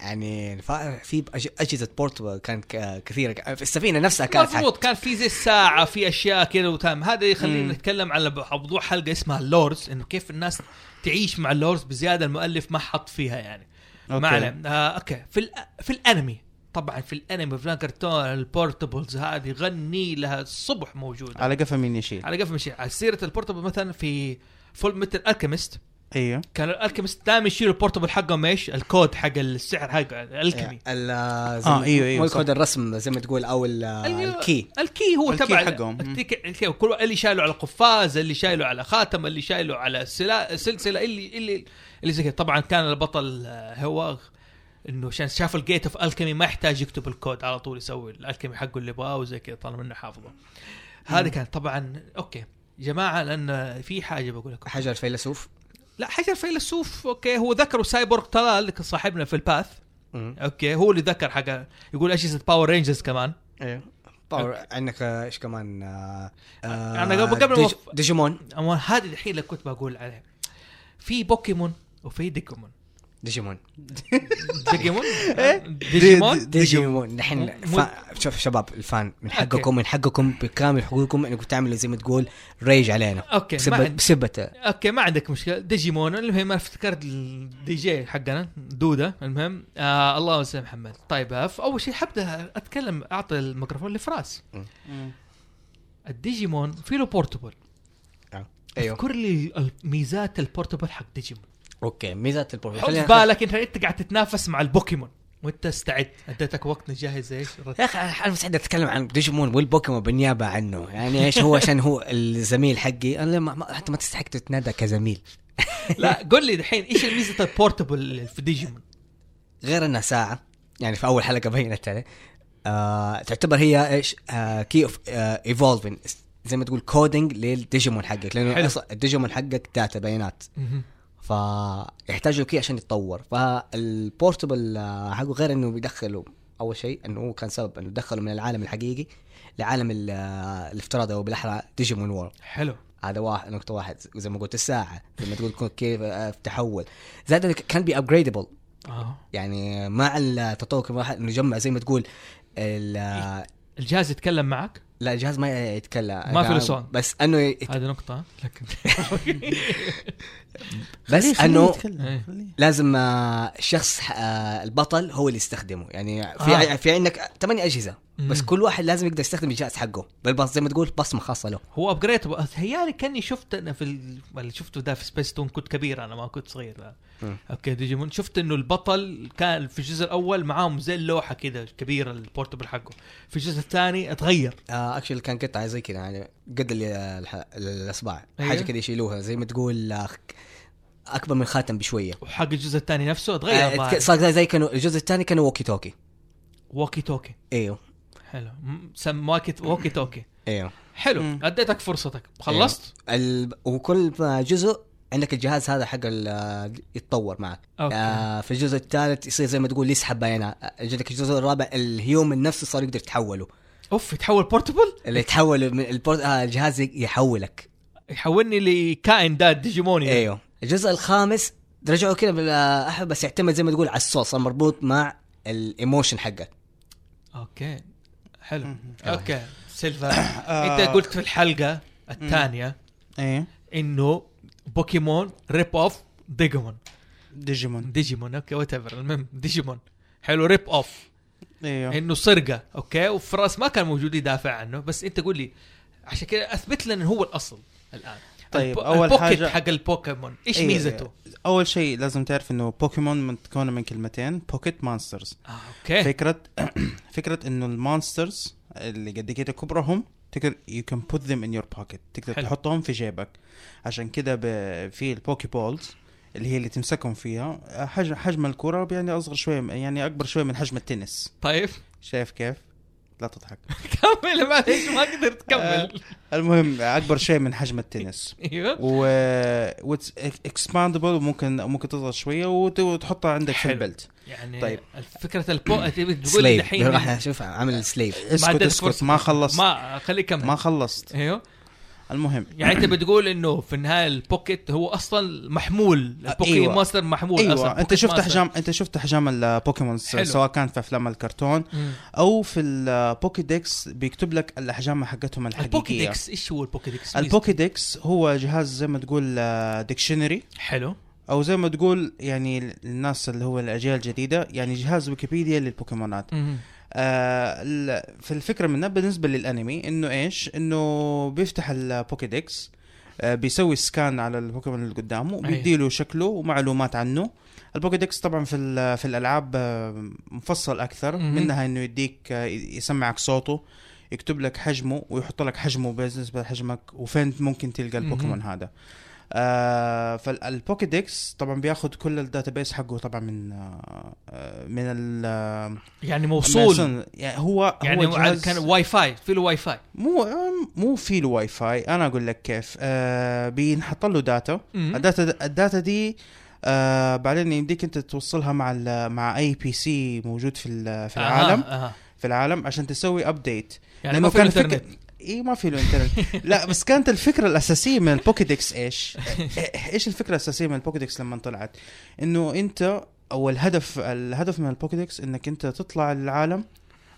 يعني الف- في أج- اجهزه بورتبل كانت ك- كثيره في السفينه نفسها كانت حق.
مضبوط كان في زي الساعه في اشياء كذا وتام هذا
مم.
يخلينا نتكلم على ب- موضوع حلقه اسمها اللورز انه كيف الناس تعيش مع اللورز بزياده المؤلف ما حط فيها يعني ما عليه آه، اوكي في ال- في الانمي طبعا في الانمي في كرتون البورتبلز هذه غني لها الصبح موجوده
على قفا مين يشيل
على قفا مشي على سيره البورتبل مثلا في فول متل الكيمست
ايوه
كان الالكيمست دائما يشيلوا البورتبل حقهم ايش؟ الكود حق السحر حق الالكيمي
ال
آه، أيوه، أيوه،
مو
صح.
الكود الرسم زي ما تقول او ال-
أيوه.
الكي
الكي هو
آه، الكي
تبع
حقهم.
الكي- الكي كل اللي شايله على قفاز اللي شايله على خاتم اللي شايله على سلا... سلسله اللي اللي اللي زي كده طبعا كان البطل آه، هو انه عشان شاف الجيت اوف الكيمي ما يحتاج يكتب الكود على طول يسوي الالكيمي حقه اللي يبغاه وزي كذا طالما انه حافظه هذه كانت طبعا اوكي جماعه لان في حاجه بقول لكم
حجر فيلسوف
لا حجر فيلسوف اوكي هو ذكره سايبورغ تلال صاحبنا في الباث اوكي هو اللي ذكر حاجه يقول اجهزه باور رينجرز كمان
ايوه باور عندك آه، ايش كمان آه، آه،
أنا قبل- قبل ما-
ديج- ديجيمون
أما هذه الحين اللي كنت بقول عليها في بوكيمون وفي ديكيمون
ديجيمون
ديكيمون إيه؟ ديجيمون
ديجيمون
مو-
دحين
مو-
فا- شوف شباب الفان من
أوكي.
حقكم من حقكم بكامل حقوقكم انكم تعملوا زي ما تقول ريج علينا
اوكي ما
بسبة
عندي
بسبة
اوكي ما عندك مشكله ديجيمون المهم انا افتكرت الدي جي حقنا دوده المهم آه الله يسلم محمد طيب آه، اول شيء حبدا اتكلم اعطي الميكروفون لفراس الديجيمون في له بورتبل
ايوه
اذكر لي ال- ميزات البورتبل حق ديجيمون
اوكي ميزات البورتبل
حط
خلينا-
في بالك انت انت قاعد تتنافس مع البوكيمون وانت استعد اديتك وقت نجهز ايش رد-
يا اخي انا مستعد اتكلم عن ديجيمون والبوكيمون بالنيابه عنه يعني ايش هو عشان هو الزميل حقي انا ما ما- حتى ما تستحق تتنادى كزميل
لا قول لي دحين ايش ميزه البورتبل اللي في ديجيمون
غير انها ساعه يعني في اول حلقه بينت عليه آه تعتبر هي آه، ايش كي اوف ايفولفين زي ما تقول كودينج للديجيمون حقك
حلو.
لانه أصلاً الديجيمون حقك داتا بيانات فيحتاج له كي عشان يتطور فالبورتبل آه، حقه غير انه بيدخله اول شيء انه هو كان سبب انه دخله من العالم الحقيقي لعالم ال- آه، الافتراضي او بالاحرى ديجيمون وورلد
حلو
هذا واحد نقطة واحد زي ما قلت الساعة زي ما تقول كو- كيف آه، تحول زائد إنه كان بي ابجريدبل
اه
يعني مع التطور كمان واحد انه يجمع زي ما تقول ال- آه،
الجهاز يتكلم معك
لا الجهاز ما يتكلم
ما في له صوت.
بس انه يت-
هذه نقطة لكن
بس انه
إيه.
لازم آه، الشخص آه، البطل هو اللي يستخدمه يعني في
آه.
آه. في عندك ثمانية اجهزه بس
مم.
كل واحد لازم يقدر يستخدم الجهاز حقه بالبص زي ما تقول بصمه خاصه له
هو ابجريد هيالي كاني شفت انا في ال- اللي شفته ده في سبيس تون كنت كبير انا ما كنت صغير
مم.
اوكي ديجيمون شفت انه البطل كان في الجزء الاول معاهم زي اللوحه كده كبيره البورتبل حقه في الجزء الثاني اتغير
آه اكشلي كان قطعه زي كذا يعني قد ال- الح- الاصبع
أيوه.
حاجه كذا يشيلوها زي ما تقول آه، اكبر من خاتم بشويه
وحق الجزء الثاني نفسه
آه،
اتغير
اتك-
بعد.
صار زي- زي كانوا الجزء الثاني كانوا ووكي توكي
ووكي توكي
ايوه
حلو م- سم ووكي ووكي توكي
ايوه
حلو
مم.
اديتك فرصتك خلصت
ال... وكل ما جزء عندك الجهاز هذا حق ال- يتطور معك
اوكي
آه في الجزء الثالث يصير زي ما تقول يسحب بيانات آه، عندك الجزء الرابع الهيومن نفسه صار يقدر يتحوله
اوف يتحول بورتبل
اللي يتحول من البورت... آه الجهاز يحولك
يحولني لكائن ده ديجيموني
ايوه الجزء الخامس رجعوا كذا بال- آه، أحب بس يعتمد زي ما تقول على الصوت صار مربوط مع الايموشن حقك
اوكي حلو
مم.
اوكي سيلفا
آه.
انت قلت في الحلقه الثانيه
ايه
انه بوكيمون ريب اوف ديجيمون
ديجيمون
ديجيمون اوكي وات ايفر المهم ديجيمون حلو ريب اوف
ايوه
انه سرقه اوكي وفي راس ما كان موجود يدافع عنه بس انت قول لي عشان كذا اثبت لنا انه هو الاصل الان
طيب،
البو-
أول
البوكيت
حاجة-
حق البوكيمون ايش
إيه.
ميزته؟
اول شيء لازم تعرف انه بوكيمون متكونه من كلمتين بوكيت مانسترز
آه، اوكي
فكره فكره انه المانسترز اللي قد إيه كده كبرهم تقدر يو كان بوت ذيم ان يور بوكيت تقدر
حلو.
تحطهم في جيبك عشان كده ب- في البوكي بولز اللي هي اللي تمسكهم فيها حجم حجم الكره يعني اصغر شويه يعني اكبر شويه من حجم التنس
طيب
شايف كيف لا تضحك
كمل معلش ما قدرت
آه.
تكمل
المهم اكبر شيء من حجم التنس
ايوه
و اكسباندبل وممكن ممكن تصغر شويه وت- وتحطها عندك في
حلو.
البلت
يعني
طيب.
فكره البو تبي تقول لي
سليف
دحين
راح شوف عامل سليف
اسكت
اديت
اسكت
فرصة.
ما خلصت
ما خليه يكمل
ما خلصت
ايوه
المهم
يعني انت بتقول انه في النهايه البوكيت هو اصلا محمول البوكي
أيوة.
أيوة. ماستر محمول اصلا
ايوه انت
بوكيت
شفت
ماستر.
احجام انت شفت احجام البوكيمون
حلو.
سواء كان في افلام الكرتون
مم.
او في البوكي ديكس بيكتب لك الاحجام حقتهم
البوكي
الحقيقيه
ديكس ايش هو البوكي ديكس؟
البوكي ديكس هو جهاز زي ما تقول ديكشنري
حلو
او زي ما تقول يعني الناس اللي هو الاجيال الجديده يعني جهاز ويكيبيديا للبوكيمونات
مم.
آه، ال- في الفكره من بالنسبه للانمي انه ايش؟ انه بيفتح البوكيدكس آه، بيسوي سكان على البوكيمون اللي قدامه
أيوه.
بيديله شكله ومعلومات عنه البوكيدكس طبعا في ال- في الالعاب آه، مفصل اكثر
مهم.
منها انه يديك آه، يسمعك صوته يكتب لك حجمه ويحط لك حجمه بالنسبه لحجمك وفين ممكن تلقى
مهم.
البوكيمون هذا آه فالبوكيدكس طبعا بياخذ كل الداتابيس حقه طبعا من آه آه، من ال آه،
يعني
موصول
موصول
يعني هو
يعني
هو
على-
جهاز
كان واي فاي في له واي فاي
مو مو في له واي فاي انا اقول لك كيف آه بينحط له داتا
مم.
الداتا الداتا دي آه بعدين يمديك انت توصلها مع ال- مع اي بي سي موجود في ال- في العالم
آه. آه.
في العالم عشان تسوي ابديت
يعني ما في انترنت
اي إيه، ما في له انترنت لا بس كانت الفكره الاساسيه من البوكيدكس ايش؟ إيه- ايش الفكره الاساسيه من البوكيدكس لما طلعت؟ انه انت او الهدف الهدف من البوكيدكس انك انت تطلع للعالم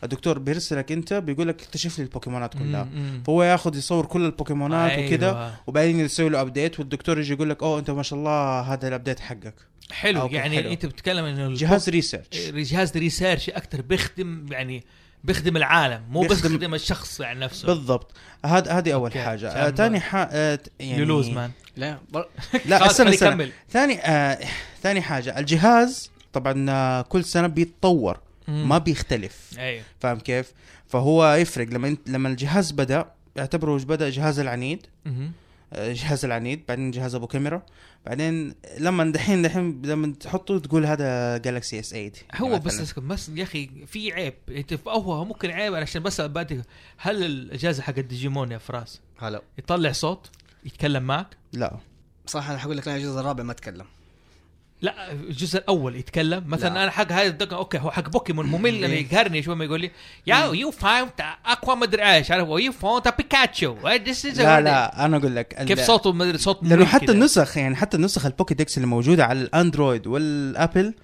الدكتور بيرسلك انت بيقول لك اكتشف لي البوكيمونات كلها فهو ياخذ يصور كل البوكيمونات أيوة. وكذا
أيوه.
وبعدين يسوي له ابديت والدكتور يجي يقول لك اوه انت ما شاء الله هذا الابديت حقك
حلو
أوكي،
يعني
حلو.
انت بتتكلم انه البوك-
جهاز ريسيرش
جهاز ريسيرش اكثر بيخدم يعني بيخدم العالم مو بس
بيخدم-
بيخدم الشخص يعني نفسه
بالضبط هذا هذه اول
أوكي.
حاجه آه
تمام.
ثاني حاجه آه ت- يعني
يلوز مان
لا بر...
لا
خلاص،
استنى
خليه
استنى
يكمل.
ثاني آه ثاني حاجه الجهاز طبعا آه، كل سنه بيتطور
مم.
ما بيختلف
ايوه
فاهم كيف فهو يفرق لما انت لما الجهاز بدا يعتبره بدا جهاز العنيد
مهم.
آه، جهاز العنيد بعدين جهاز ابو كاميرا بعدين لما دحين دحين لما تحطه تقول هذا جالكسي اس 8
هو بس اسكت بس يا اخي في عيب انت في- هو ممكن عيب علشان بس بادئ هل الاجازه حق الديجيمون يا فراس
هلا
يطلع صوت يتكلم معك
لا
بصراحه انا حقول لك انا الجزء الرابع ما اتكلم
لا الجزء الاول يتكلم مثلا
لا.
انا حق هاي الدقه اوكي هو حق بوكيمون
إيه.
ممل اللي يقهرني شوي ما يقول لي يا يو فاوند اكوا مدري ايش عارف "Oh, يو فاوند بيكاتشو ذيس از
لا لا انا اقول لك ال-
كيف صوته مدري صوت
لانه
مريب
حتى
كده.
النسخ يعني حتى النسخ البوكيدكس اللي موجوده على الاندرويد والابل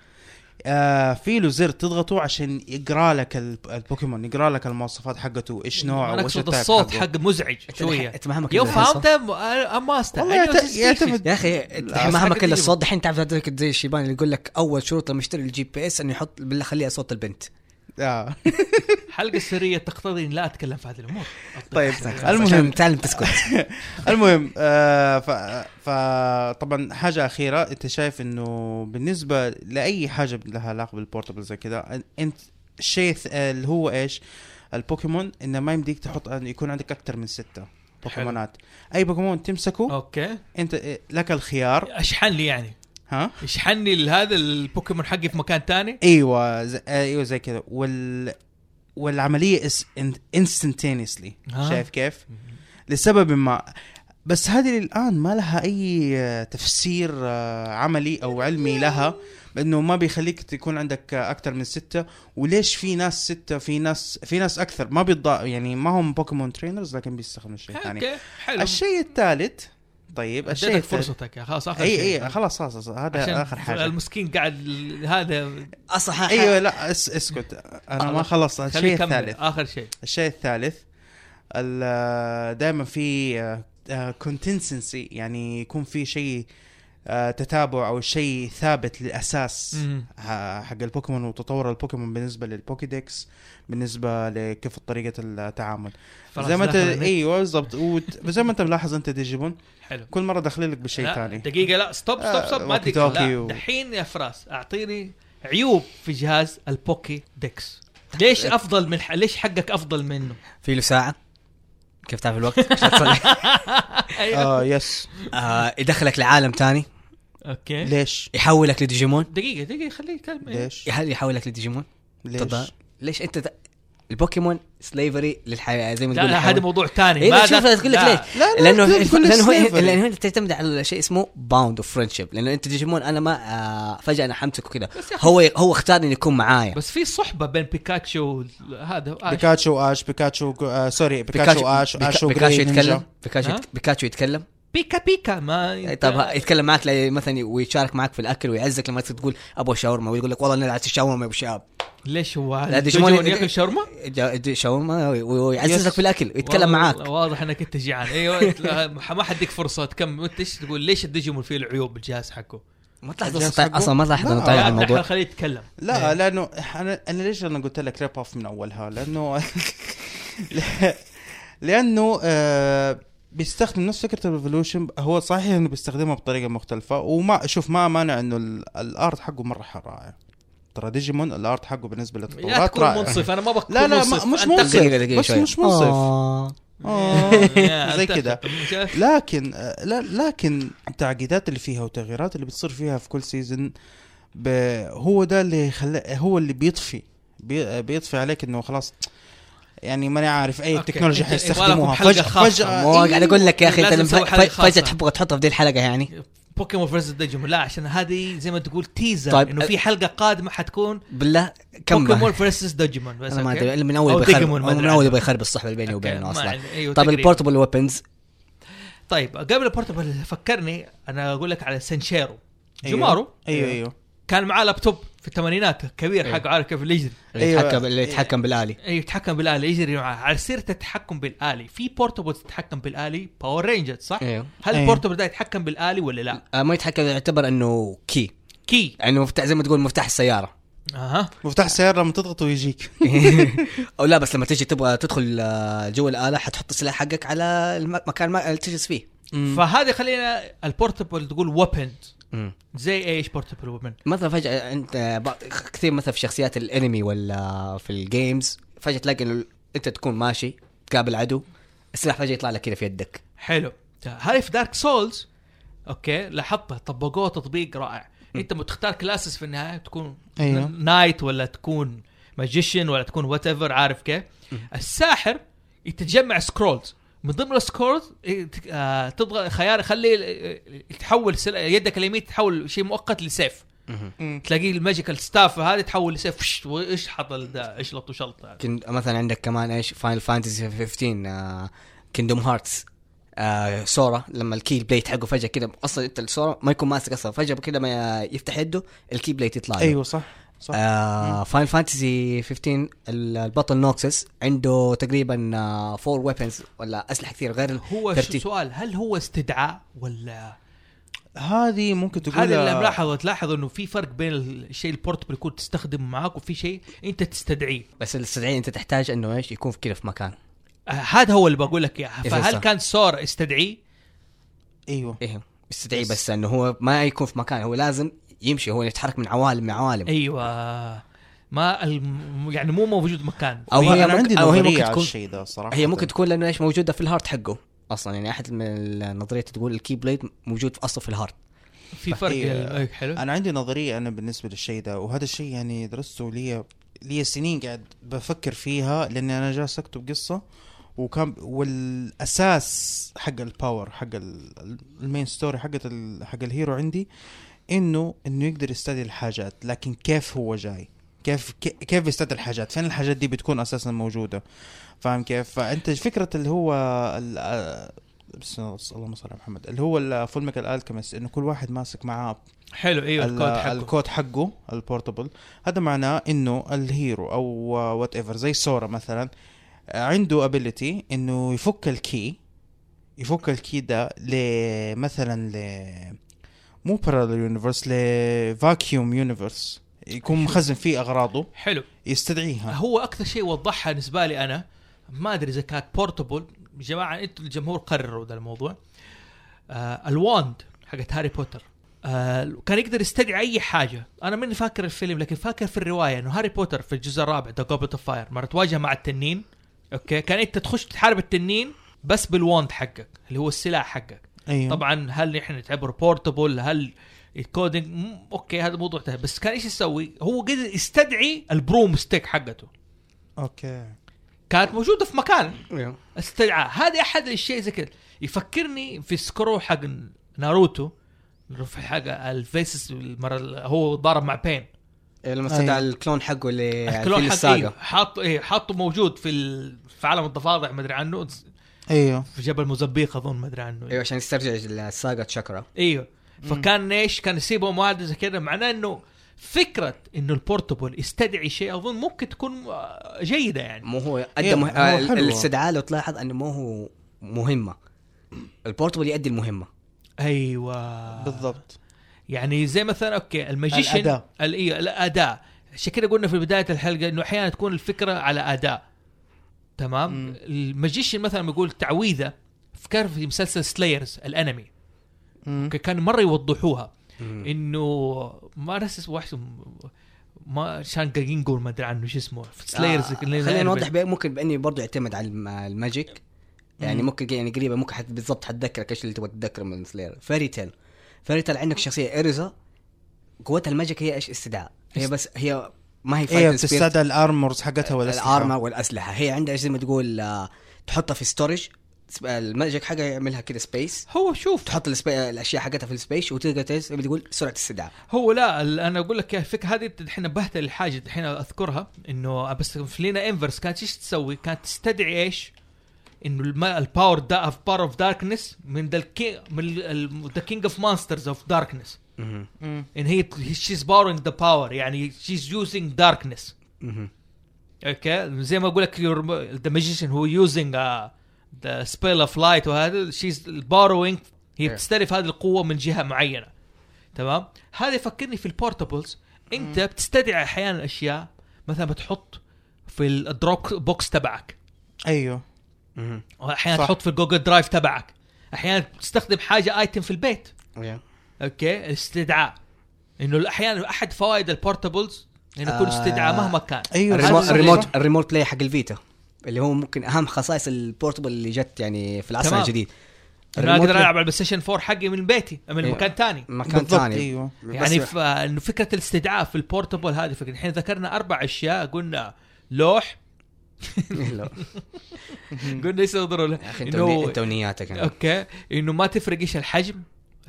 آه في له زر تضغطه عشان يقرا لك ال- البوكيمون يقرا لك المواصفات حقته ايش نوعه
انا
وايش
اقصد
التايب
الصوت
حقه.
حق مزعج شويه
انت مهما كان
يو
الحين صوت-
فاوند ماستر أيوة،
والله يعت- يعتمد-
يا اخي انت
لا،
الحين مهما
أصلاً
كان
قديم.
الصوت دحين تعرف هذاك زي الشيبان اللي يقول لك اول شروط لما يشتري الجي بي اس انه يحط بالله خليها صوت البنت
آه.
الحلقه السريه تقتضي ان لا اتكلم في هذه الامور
طيب المهم
المهم تعلم تسكت
المهم آه ف... فطبعا حاجه اخيره انت شايف انه بالنسبه لاي حاجه لها علاقه بالبورتبل زي كذا انت الشيء الث- آه، اللي هو ايش البوكيمون انه ما يمديك تحط أن يكون عندك اكثر من سته بوكيمونات اي بوكيمون تمسكه
اوكي
انت إيه، لك الخيار
اشحن لي يعني
ها
اشحن لي هذا البوكيمون حقي في مكان تاني
ايوه زي ايوه زي كذا وال والعمليه اس انستنتينيسلي
ها.
شايف كيف؟ لسبب ما بس هذه الان ما لها اي آه، تفسير آه، عملي او علمي لها بانه ما بيخليك تكون عندك اكثر من سته وليش في ناس سته في ناس في ناس اكثر ما بيضا يعني ما هم بوكيمون ترينرز لكن بيستخدموا الشيء الثاني
اوكي حلو
الشيء الثالث طيب الشيء
اديتك
الثالث
فرصتك يا خلاص اخر شيء.
اي اي خلاص خلاص خلاص، هذا اخر حاجه
المسكين قاعد ال- هذا
اصلا
ايوه لا اس اسكت انا ما
خلاص.
خلصت
خليه
الشيء
يكمل
الثالث
اخر شيء
الشيء الثالث دائما في كونتنسنسي يعني يكون في شيء آه، تتابع او شيء ثابت للاساس
مم.
ح- حق البوكيمون وتطور البوكيمون بالنسبه للبوكيدكس بالنسبه لكيف طريقه التعامل
خلاص،
زي ما انت
دخل النت.
ايوه بالضبط وت- زي ما انت ملاحظ انت ديجيبون
حلو
كل مره داخلين لك بشيء
لا،
ثاني
دقيقه لا ستوب ستوب
آه،
ستوب ما
ووكي
دقيقه
توكي
لا
و-
دحين يا فراس اعطيني عيوب في جهاز البوكي ديكس ليش افضل من ح- ليش حقك افضل منه؟
في له ساعه كيف تعرف الوقت؟ مش هتصلح.
ايوه
اه يس
آه، يدخلك لعالم ثاني
اوكي
ليش
يحولك لديجيمون
دقيقه دقيقه خليه يكمل
ليش
هل يحولك لديجيمون؟
ليش
تفضل. ليش انت ت- البوكيمون سليفري للحياه زي ما
لا
تقول
لا هذا موضوع ثاني
إيه لا شوف اقول لك ليش
لا، لا،
لانه
لا تقول لي
لانه
slavery.
هي- لانه انت تعتمد على شيء اسمه باوند اوف فريندشيب لانه انت ديجيمون انا ما آه، فجاه انا حمتك وكذا
بس يا أخي-
هو هو اختار انه يكون معايا
بس في صحبه بين بيكاتشو وال- هذا آه، آش.
بيكاتشو اش بيكاتشو آه سوري بيكاتشو اش
بيكا-
اش
بيكاتشو يتكلم بيكاتشو
ها؟
يت- بيكاتشو يتكلم
بيكا بيكا ما
إيه، طب ها- يتكلم معك لا- مثلا ويشارك معك في الاكل ويعزك لما تقول ابو شاورما ويقول لك والله انا عايز شاورما يا ابو شاب
ليش هو
لا،
ديجيمون
ديجيمون
ياكل شاورما؟
جا- دي- شاورما وي-
يس.
ويعززك في الاكل ويتكلم معك
والله واضح انك انت جيعان ايوه لا، ما حديك فرصه تكمل انت ايش تقول ليش الديجيمون فيه العيوب بالجهاز حقه؟
ما تلاحظ
الجهاز
أصلاً-
حقه؟
اصلا ما تلاحظ
لا،
انه
طيب
لا،
طالع
احنا
الموضوع
خليه يتكلم
لا لانه انا انا ليش انا قلت لك ريب اوف من اولها لانه لانه آه بيستخدم نفس فكره الريفولوشن هو صحيح انه بيستخدمها بطريقه مختلفه وما شوف ما مانع انه ال- الارت حقه مره ح- رائع ترى ديجيمون الارت حقه بالنسبه
لا
للتطورات
تكون
رائع
منصف انا ما بكون
لا لا ما-
منصف
مش
أنت-
منصف
دقيقة- دقيقة
بس
شوي.
مش منصف
آه.
آه،
يا،
زي
أنت-
كده
شايف؟
لكن لا لكن التعقيدات اللي فيها والتغييرات اللي بتصير فيها في كل سيزون ب... هو ده اللي خل... هو اللي بيطفي بي... بيطفي عليك انه خلاص يعني ماني عارف اي
أوكي.
تكنولوجيا
أنت-
حيستخدموها
يبغالكم حلقة
فجاه
خاصة.
فجاه
مو قاعد اقول لك يا اخي
آه. لازم
انت
نسوي
ف-
حلقة
ف- فجاه
خاصة.
تبغى تحطها في دي الحلقه يعني
بوكيمون فيرسس ديجيمون لا عشان هذه زي ما تقول تيزر
طيب،
انه في حلقه قادمه حتكون
بالله كم
بوكيمون
انا
فيرسس ديجيمون بس
ما
أوكي؟
ادري من
أو
اول بيخرب
ديجيمون، ما أدري
من
عنه.
اول بيخرب الصحبه بيني
أوكي،
وبينه
ما
اصلا
عندي-
طيب،
أيوه،
طب
تقريباً.
البورتبل ويبنز
طيب قبل البورتبل فكرني انا اقول لك على سنشيرو جمارو
ايوه ايوه
كان معاه لابتوب في الثمانينات كبير
إيه.
حقه عارف كيف اللي يجري
اللي
أيوه.
يتحكم اللي يتحكم بالالي
أي يتحكم بالآلة يجري معاه على سيرة التحكم بالآلي في بورتبل تتحكم بالآلي باور رينجر صح؟
ايوه
هل
أيوه.
البورتبل ده يتحكم بالآلي ولا لا؟
آه، ما يتحكم يعتبر انه كي
كي
يعني مفتاح زي ما تقول مفتاح السياره
اها
مفتاح السياره لما تضغطه يجيك
او لا بس لما تيجي تبغى تدخل آه، جوا الاله حتحط السلاح حقك على المكان ما اللي تجلس فيه
فهذه خلينا البورتبل تقول ويبن
مم.
زي ايش بورتبل ويبن
مثلا فجاه انت بعض- كثير مثلا في شخصيات الانمي ولا في الجيمز فجاه تلاقي انه انت تكون ماشي تقابل عدو السلاح فجاه يطلع لك كذا في يدك
حلو هاي في دارك سولز اوكي لاحظتها طبقوه تطبيق رائع انت متختار كلاسز في النهايه تكون
أيوه.
نايت ولا تكون ماجيشن ولا تكون وات ايفر عارف كيف الساحر يتجمع سكرولز من ضمن السكرولز إيه، ت- آه، تضغط خيار خلي ال- تحول سل- يدك اليمين تحول شيء مؤقت لسيف تلاقيه الماجيكال ستاف هذا تحول لسيف فش، وايش حط ال- ده، اشلط وشلط هذا.
كن مثلا عندك كمان ايش فاينل فانتسي 15 كيندوم هارتس آه سورا لما الكي بليت حقه فجاه كده اصلا انت السورا ما يكون ماسك اصلا فجاه كده ما يفتح يده الكي بليت يطلع له
ايوه صح صح
آه فاين فانتسي 15 ال- البطل نوكسس عنده تقريبا آه فور ويبنز ولا اسلحه كثير غير
هو شو
ترتيب.
سؤال هل هو استدعاء ولا
هذه ممكن تقول
هذا اللي ملاحظه تلاحظ انه في فرق بين الشيء البورتبل يكون تستخدمه معاك وفي شيء انت تستدعيه
بس الاستدعاء انت تحتاج انه ايش يكون في كده في مكان
آه، هذا هو اللي بقول لك اياه
يس،
فهل
يس.
كان سور استدعيه
ايوه
ايه استدعي بس انه هو ما يكون في مكان هو لازم يمشي هو يتحرك من عوالم لعوالم
ايوه ما الم... يعني مو موجود مكان
او هي
انا
ممكن-
عندي
أو هي
نظريه
ممكن
على
تكون-
الشيء ده صراحه
هي ممكن تكون لانه ايش موجوده في الهارت حقه اصلا يعني احد من النظريات تقول الكي بليد موجود اصلا في الهارت
في فرق يعني.
هي-
أي، حلو
انا عندي نظريه انا بالنسبه للشيء ده وهذا الشيء يعني درسته لي لي سنين قاعد بفكر فيها لاني انا جالس اكتب قصه وكان والاساس حق الباور حق ال- ال- المين ستوري حقت ال- حق الهيرو عندي انه انه يقدر يستدعي الحاجات لكن كيف هو جاي كيف كي- كيف يستدعي الحاجات فين الحاجات دي بتكون اساسا موجوده فاهم كيف فانت فكره اللي هو ال- بس اللهم صل على محمد اللي هو الفول ميكال الكيمست انه كل واحد ماسك معاه
حلو ايوه الكود
ال-
حقه
الكود حقه البورتبل هذا معناه انه الهيرو او وات ايفر زي سورا مثلا عنده ابيلتي انه يفك الكي يفك الكي ده لمثلا ل مو بارالل يونيفرس لفاكيوم يونيفرس يكون
أيوة.
مخزن فيه اغراضه
حلو
يستدعيها
هو اكثر شيء وضحها بالنسبه لي انا ما ادري اذا كانت بورتبل يا جماعه انتم الجمهور قرروا ذا الموضوع آه الواند حقت هاري بوتر آه كان يقدر يستدعي اي حاجه انا ماني فاكر الفيلم لكن فاكر في الروايه انه هاري بوتر في الجزء الرابع ذا جوبلت اوف فاير مره تواجه مع التنين اوكي كان انت تخش تحارب التنين بس بالواند حقك اللي هو السلاح حقك
ايوه
طبعا هل احنا نعتبره بورتبل هل الكودينج مم، اوكي هذا موضوع تاني بس كان ايش يسوي هو قدر يستدعي البروم ستيك حقته
اوكي
كانت موجوده في مكان استدعاء هذه احد الاشياء زي كذا يفكرني في سكرو حق ناروتو في حق الفيسس المره اللي هو ضارب مع بين
إيه، لما
أيوه.
استدعى الكلون حقه اللي
الكلون
الكلون
حق إيه
الساقه
حاط إيه حاطه موجود في ال... في عالم الضفادع ما ادري عنه
ايوه
في جبل موزمبيق اظن ما ادري عنه
ايوه عشان يسترجع الساقه تشاكرا
ايوه فكان ايش كان يسيبهم واحد زي كذا معناه انه فكره انه البورتبل يستدعي شيء اظن ممكن تكون آه، جيده يعني
مو هو
إيه،
ادى مه...
هو
آه،
حلو.
الاستدعاء لو تلاحظ انه مو هو مهمه البورتبل يؤدي المهمه
ايوه
بالضبط
يعني زي مثلا اوكي الماجيشن
الأداة.
ال- إيه، الاداء عشان كده قلنا في بدايه الحلقه انه احيانا تكون الفكره على اداء تمام
مم.
الماجيشن مثلا يقول تعويذه فكر في مسلسل سلايرز الانمي
مم.
أوكي، كان مره يوضحوها
إيه.
انه ما نسيت واحد اسمه- ما شان جاجينجو ما ادري عنه شو اسمه في سلايرز
آه، خلينا نوضح بي- ممكن باني برضه يعتمد على الم- الماجيك يعني ممكن يعني قريبه ممكن حت بالضبط حتذكرك ايش اللي تبغى تتذكره من سلاير فيري تيل فيري تيل عندك شخصيه اريزا قوتها الماجيك هي ايش استدعاء هي بس هي ما هي
هي
فايتنج سبيرت.
إيه، بتستدعي الارمورز حقتها ولا
الارمر والاسلحه هي عندها إيش زي ما تقول آه، تحطها في ستورج الماجيك حاجه يعملها كده سبيس
هو شوف
تحط السبي... الاشياء حقتها في السبيس وتلقى تيس- زي ما تقول سرعه استدعاء
هو لا ال- انا اقول لك الفكره هذه الحين نبهت لحاجه الحين اذكرها انه بس في لينا انفرس كانت ايش تسوي؟ كانت تستدعي ايش؟ انه الم- الباور دا اوف باور اوف داركنس من ذا الكي- من ذا كينج اوف مانسترز اوف داركنس ان هي شيز باورينج ذا باور يعني شيز يوزينج داركنس اوكي زي ما اقول لك ذا ماجيشن هو يوزنج ذا سبيل اوف لايت وهذا شيز بوروينج هي
Yeah.
بتستلف هذه القوه من جهه معينه تمام هذا يفكرني في البورتبلز انت بتستدعي احيانا اشياء مثلا بتحط في الدروب بوكس تبعك
ايوه
مهم.
احيانا
صح.
تحط في الجوجل درايف تبعك احيانا بتستخدم حاجه ايتم في البيت
يا.
اوكي الاستدعاء انه احيانا احد فوائد البورتبلز انه يكون
آه،
استدعاء مهما كان
ايوه
الريمو-
الريموت
صح، صح،
الريموت
صح.
الريموت بلاي حق الفيتا اللي هو ممكن اهم خصائص البورتبل اللي جت يعني في العصر
تمام.
الجديد
انا اقدر
الريموت
العب على البلاي ستيشن 4 حقي من بيتي من
إيه.
مكان ثاني
مكان
بالضبط
ثاني
ايوه
يعني
بس-
ف... انه فكره الاستدعاء في البورتبل هذه فكره الحين ذكرنا اربع اشياء قلنا لوح
لا.
قلنا يصدروا له
يا اخي انت وني-
انه
انت ونياتك يعني.
اوكي انه ما تفرق ايش الحجم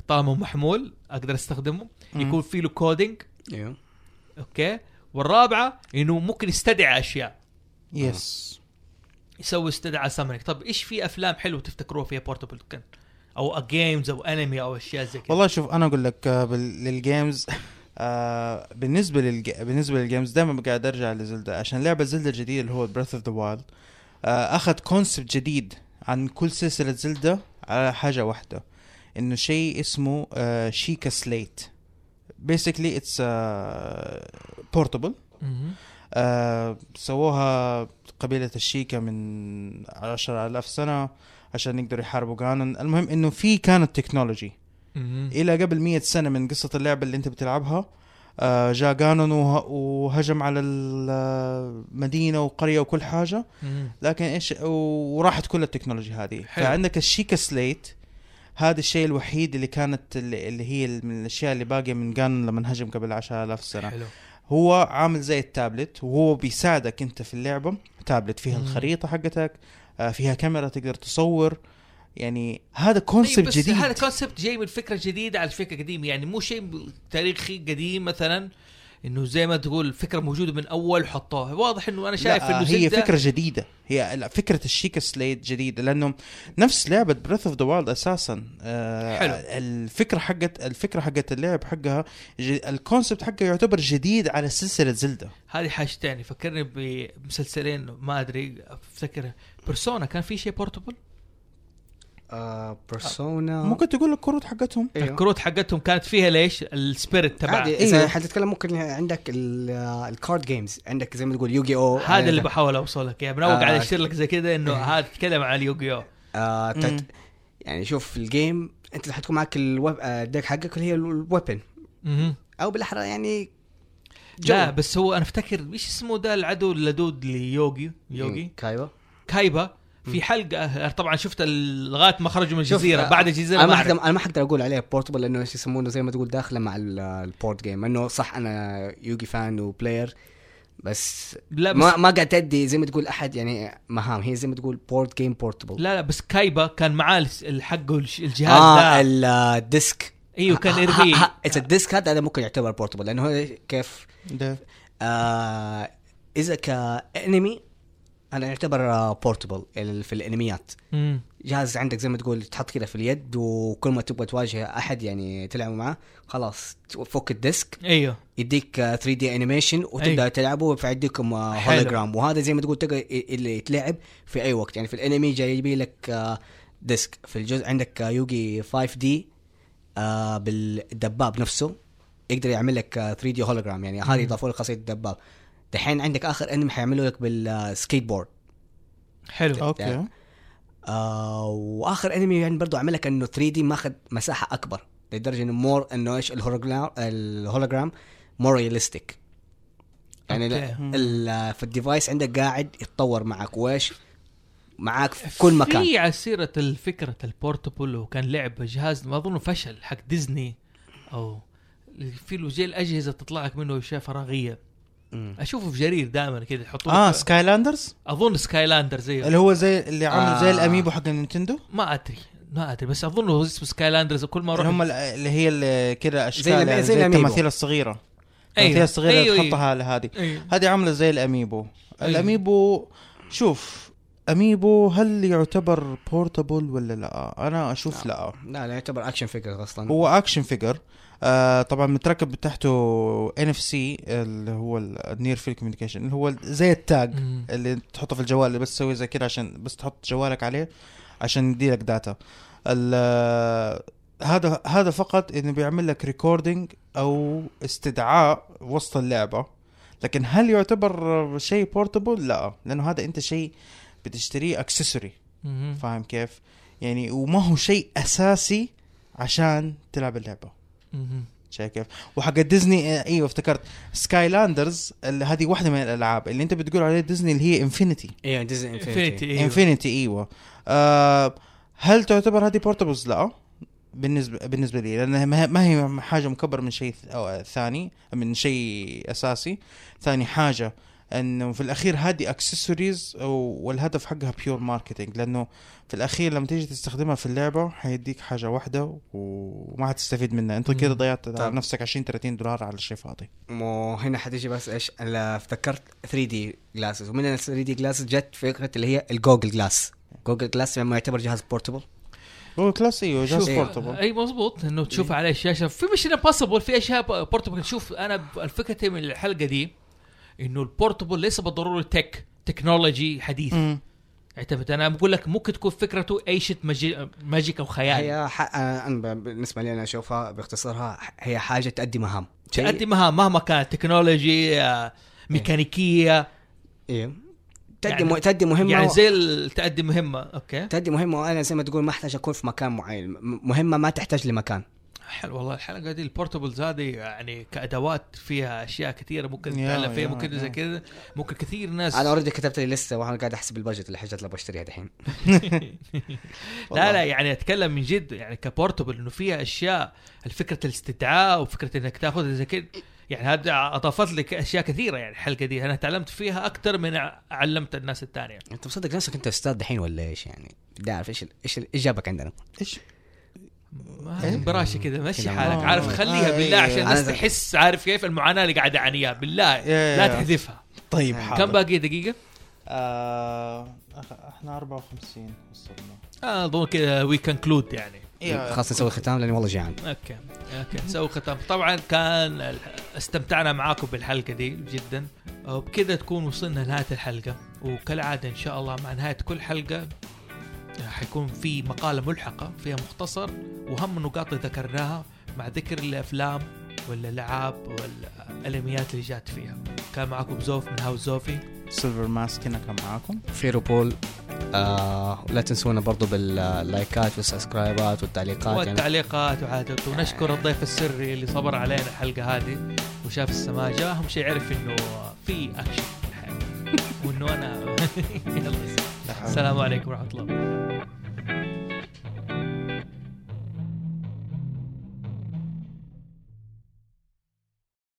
طالما هو محمول اقدر استخدمه
مم.
يكون في له كودينج
ايوه
اوكي والرابعه انه ممكن يستدعي اشياء
يس
يسوي استدعاء سامرينج طب ايش في افلام حلوه تفتكروها فيها بورتبل كان او جيمز او انمي او اشياء زي كذا
والله شوف انا اقول لك آه، بال- للجيمز آه بالنسبه للج... بالنسبه للجيمز دائما قاعد ارجع لزلدا عشان لعبه زلدا الجديده اللي هو بريث اوف ذا وايلد اخذ كونسبت آه، جديد عن كل سلسله زلدا على حاجه واحده انه شيء اسمه آه شيكا سليت بيسكلي اتس بورتبل
مهم.
آه، سووها قبيلة الشيكا من عشر آلاف سنة عشان يقدروا يحاربوا جانون المهم انه في كانت تكنولوجي
مهم.
الى قبل مية سنة من قصة اللعبة اللي انت بتلعبها آه، جاء جانون وه- وهجم على المدينة وقرية وكل حاجة
مهم.
لكن ايش و- وراحت كل التكنولوجي هذه
حلو.
فعندك الشيكا سليت هذا الشيء الوحيد اللي كانت اللي اللي هي من الاشياء اللي باقيه من جانون لما هجم قبل 10000 سنه
حلو
هو عامل زي التابلت وهو بيساعدك انت في اللعبه تابلت فيها
مم.
الخريطه حقتك آه، فيها كاميرا تقدر تصور يعني هذا
طيب
كونسبت
بس
جديد
هذا كونسبت جاي من فكره جديده على فكره قديمه يعني مو شيء تاريخي قديم مثلا انه زي ما تقول فكره موجوده من اول حطوها واضح انه انا شايف
لا،
انه
هي
زلدة-
فكره جديده هي لا، فكره الشيكا سليد جديده لانه نفس لعبه بريث اوف ذا وايلد اساسا آه،
حلو.
الفكره حقت الفكره حقت اللعب حقها ج- الكونسبت حقه يعتبر جديد على سلسله زلدة
هذه حاجتين فكرني بمسلسلين ما ادري افتكر بيرسونا كان في شيء بورتبل
آه، بيرسونا
ممكن تقول الكروت حقتهم
أيوه.
الكروت حقتهم كانت فيها ليش السبيريت
عادي إيه،
تبعها
اذا
أيوه.
حتتكلم ممكن عندك ال- آه، الكارد جيمز عندك زي ما تقول يوغي او
هذا اللي بحاول اوصل لك يعني اياه من اول
إيه. آه.
قاعد اشير لك زي كذا انه
إيه.
هذا تتكلم عن يوغيو
آه، تت-
مم.
يعني شوف الجيم انت حتكون معك الويب آه، الديك حقك اللي هي الويبن او بالاحرى يعني جو.
لا بس هو انا افتكر ايش اسمه ده العدو اللدود ليوغي يوغي
كايوا
كايبا في حلقه طبعا شفت ال- لغايه ما خرجوا من
شوف،
الجزيره
آه،
بعد الجزيره
انا ما
ما أعرف.
حقدر انا ما حقدر اقول عليها بورتبل لانه ايش يسمونه زي ما تقول داخله مع ال- البورد جيم انه صح انا يوغي فان وبلاير بس
لا بس
ما ما قاعد تدي زي ما تقول احد يعني مهام هي زي ما تقول بورد جيم بورتبل
لا لا بس كايبا كان معاه الس- الحق والش- الجهاز
اه
آه ده
ال- الديسك
ايوه كان يرميه
اذا الديسك هذا هذا ممكن يعتبر بورتبل لانه هو كيف
ده
آه اذا كانمي انا يعتبر بورتبل في الانميات
مم.
جهاز عندك زي ما تقول تحط كده في اليد وكل ما تبغى تواجه احد يعني تلعب معاه خلاص تفك الديسك
ايوه
يديك آه، 3 دي انيميشن وتبدا
أيوة.
تلعبه فيعديكم
حلو.
هولوجرام وهذا زي ما تقول تقدر ي- اللي يتلعب في اي وقت يعني في الانمي جاي يبي لك آه، ديسك في الجزء عندك آه، يوغي 5 دي آه، بالدباب نفسه يقدر يعمل لك آه، 3 دي هولوجرام يعني هذه اضافوا لك خاصيه الدباب دحين عندك اخر انمي حيعملوا لك آه، بالسكيت بورد
حلو
اوكي
آه واخر انمي يعني برضو عمل لك انه 3 دي ماخذ مساحه اكبر لدرجه انه مور انه ايش الهولوجرام الهولوجرام مور رياليستيك يعني لا-
أوكي.
ال- في الديفايس عندك قاعد يتطور معك وايش معك في كل مكان
في على سيره الفكره البورتبل وكان لعب جهاز ما اظن فشل حق ديزني او في له زي الاجهزه تطلع لك منه اشياء فراغيه
مم.
اشوفه في جرير دائما كذا يحطوا
اه
لك-
سكاي لاندرز
اظن سكاي لاندر زيه
اللي هو زي اللي عامل زي
آه.
الاميبو حق النينتندو
ما ادري ما ادري بس اظن هو اسمه سكاي لاندرز وكل ما
اللي هم
اروح
ال- اللي هي ال- كده اشكال
زي الأمي-
يعني
زي
زي
الأميبو.
التماثيل الصغيره التماثيل الصغيره اللي تحطها على هذه
أيوه.
هذه عامله زي الاميبو
أيوه.
الاميبو شوف اميبو هل يعتبر بورتبل ولا لا انا اشوف لا
لا لا يعتبر اكشن فيجر اصلا
هو اكشن فيجر آه طبعا متركب تحته ان اف سي اللي هو النير فيلد كوميونيكيشن اللي هو زي التاج
مم.
اللي تحطه في الجوال اللي بس تسوي زي كده عشان بس تحط جوالك عليه عشان يديلك آه، داتا ال- هذا هذا فقط انه بيعمل لك ريكوردينج او استدعاء وسط اللعبه لكن هل يعتبر شيء بورتبل لا لانه هذا انت شيء بتشتريه اكسسوري
مهم.
فاهم كيف يعني وما هو شيء اساسي عشان تلعب اللعبه
مهم.
شايف كيف؟ وحق ديزني آه، ايوه افتكرت سكاي لاندرز هذه واحده من الالعاب اللي انت بتقول عليها ديزني اللي هي انفينيتي
ايوه ديزني
Infinity،
انفينيتي
إيوه.
انفينيتي ايوه آه هل تعتبر هذه بورتبلز لا بالنسبه بالنسبه لي لانها ما ما هي حاجه مكبر من شيء ث- أو ثاني من شيء اساسي ثاني حاجه انه في الاخير هذه اكسسوارز والهدف حقها بيور ماركتينج لانه في الاخير لما تيجي تستخدمها في اللعبه حيديك حاجه واحده وما حتستفيد منها انت كده ضيعت على
طب.
نفسك 20 30 دولار على شيء فاضي
مو هنا حتيجي بس ايش انا افتكرت 3 دي جلاسز ومن ال 3 دي جلاسز جت فكره اللي هي الجوجل جلاس جوجل جلاس لما يعتبر جهاز بورتبل
هو كلاس ايوه جاست
شوف
بورتبل
اي مضبوط انه تشوف على الشاشه في مش امبوسيبل في اشياء بورتبل شوف انا فكرتي من الحلقه دي انه البورتبل ليس بالضروره تك تكنولوجي حديث اعتمد انا بقول لك ممكن تكون فكرته اي شيء ماجي- ماجيك او خيال
هي ح... انا أنا ب- بالنسبه لي انا اشوفها باختصارها هي حاجه تؤدي مهام شيء-
تأدي مهام مهما كانت تكنولوجي آه، ميكانيكيه
ايوه تؤدي
يعني-
يعني... م... تؤدي مهمه
يعني زي ال- تأدي مهمه اوكي
تأدي مهمة وأنا زي ما تقول ما أحتاج أكون في مكان معين م- مهمة ما تحتاج لمكان
حلو والله الحلقه دي البورتبلز هذه يعني كادوات فيها اشياء كثيره ممكن
يا-
تتعلم فيها
يا-
ممكن زي
يا.
كذا ممكن كثير ناس
أنا أوريدي كتبت لي لسه وأنا قاعد أحسب البجت الحاجات اللي بشتريها دحين
لا لا يعني اتكلم من جد يعني كبورتبل انه فيها اشياء الفكره الاستدعاء وفكره انك تاخذ زي كده يعني هذا اضافت لك اشياء كثيره يعني الحلقه دي انا تعلمت فيها اكثر من ع- علمت الناس الثانيه
أنت مصدق نفسك أنت أستاذ دحين ولا إيش يعني؟ بدي أعرف إيش ال- إيش ال- إيش جابك عندنا؟
ايش
ما- يعني براشة كذا مشي
كده
حالك
ما-
عارف
آه،
خليها
آه،
بالله
إيه.
عشان الناس
أنا-
تحس عارف كيف المعاناه اللي قاعد اعانيها بالله
يا-
لا
يا.
تحذفها
طيب
كم
حاضر
باقي دقيقه؟
آه احنا 54 وصلنا
آه، اظن كذا وي كنكلود يعني
خلاص نسوي ختام لأني والله جيعان
اوكي اوكي نسوي ختام طبعا كان ال- استمتعنا معاكم بالحلقه دي جدا وبكذا تكون وصلنا لنهايه الحلقه وكالعاده ان شاء الله مع نهايه كل حلقه حيكون في مقاله ملحقه فيها مختصر واهم النقاط اللي ذكرناها مع ذكر الافلام والالعاب والانميات اللي جات فيها كان معاكم زوف من هاوس زوفي
سيلفر ماسك هنا كان معاكم
فيروبول آه لا تنسونا برضو باللايكات والسبسكرايبات والتعليقات يعني
والتعليقات وعادته ونشكر الضيف السري اللي صبر علينا الحلقه هذه وشاف السماجه اهم شيء يعرف انه في اكشن في الحياه وانه انا يلا السلام عليكم ورحمه الله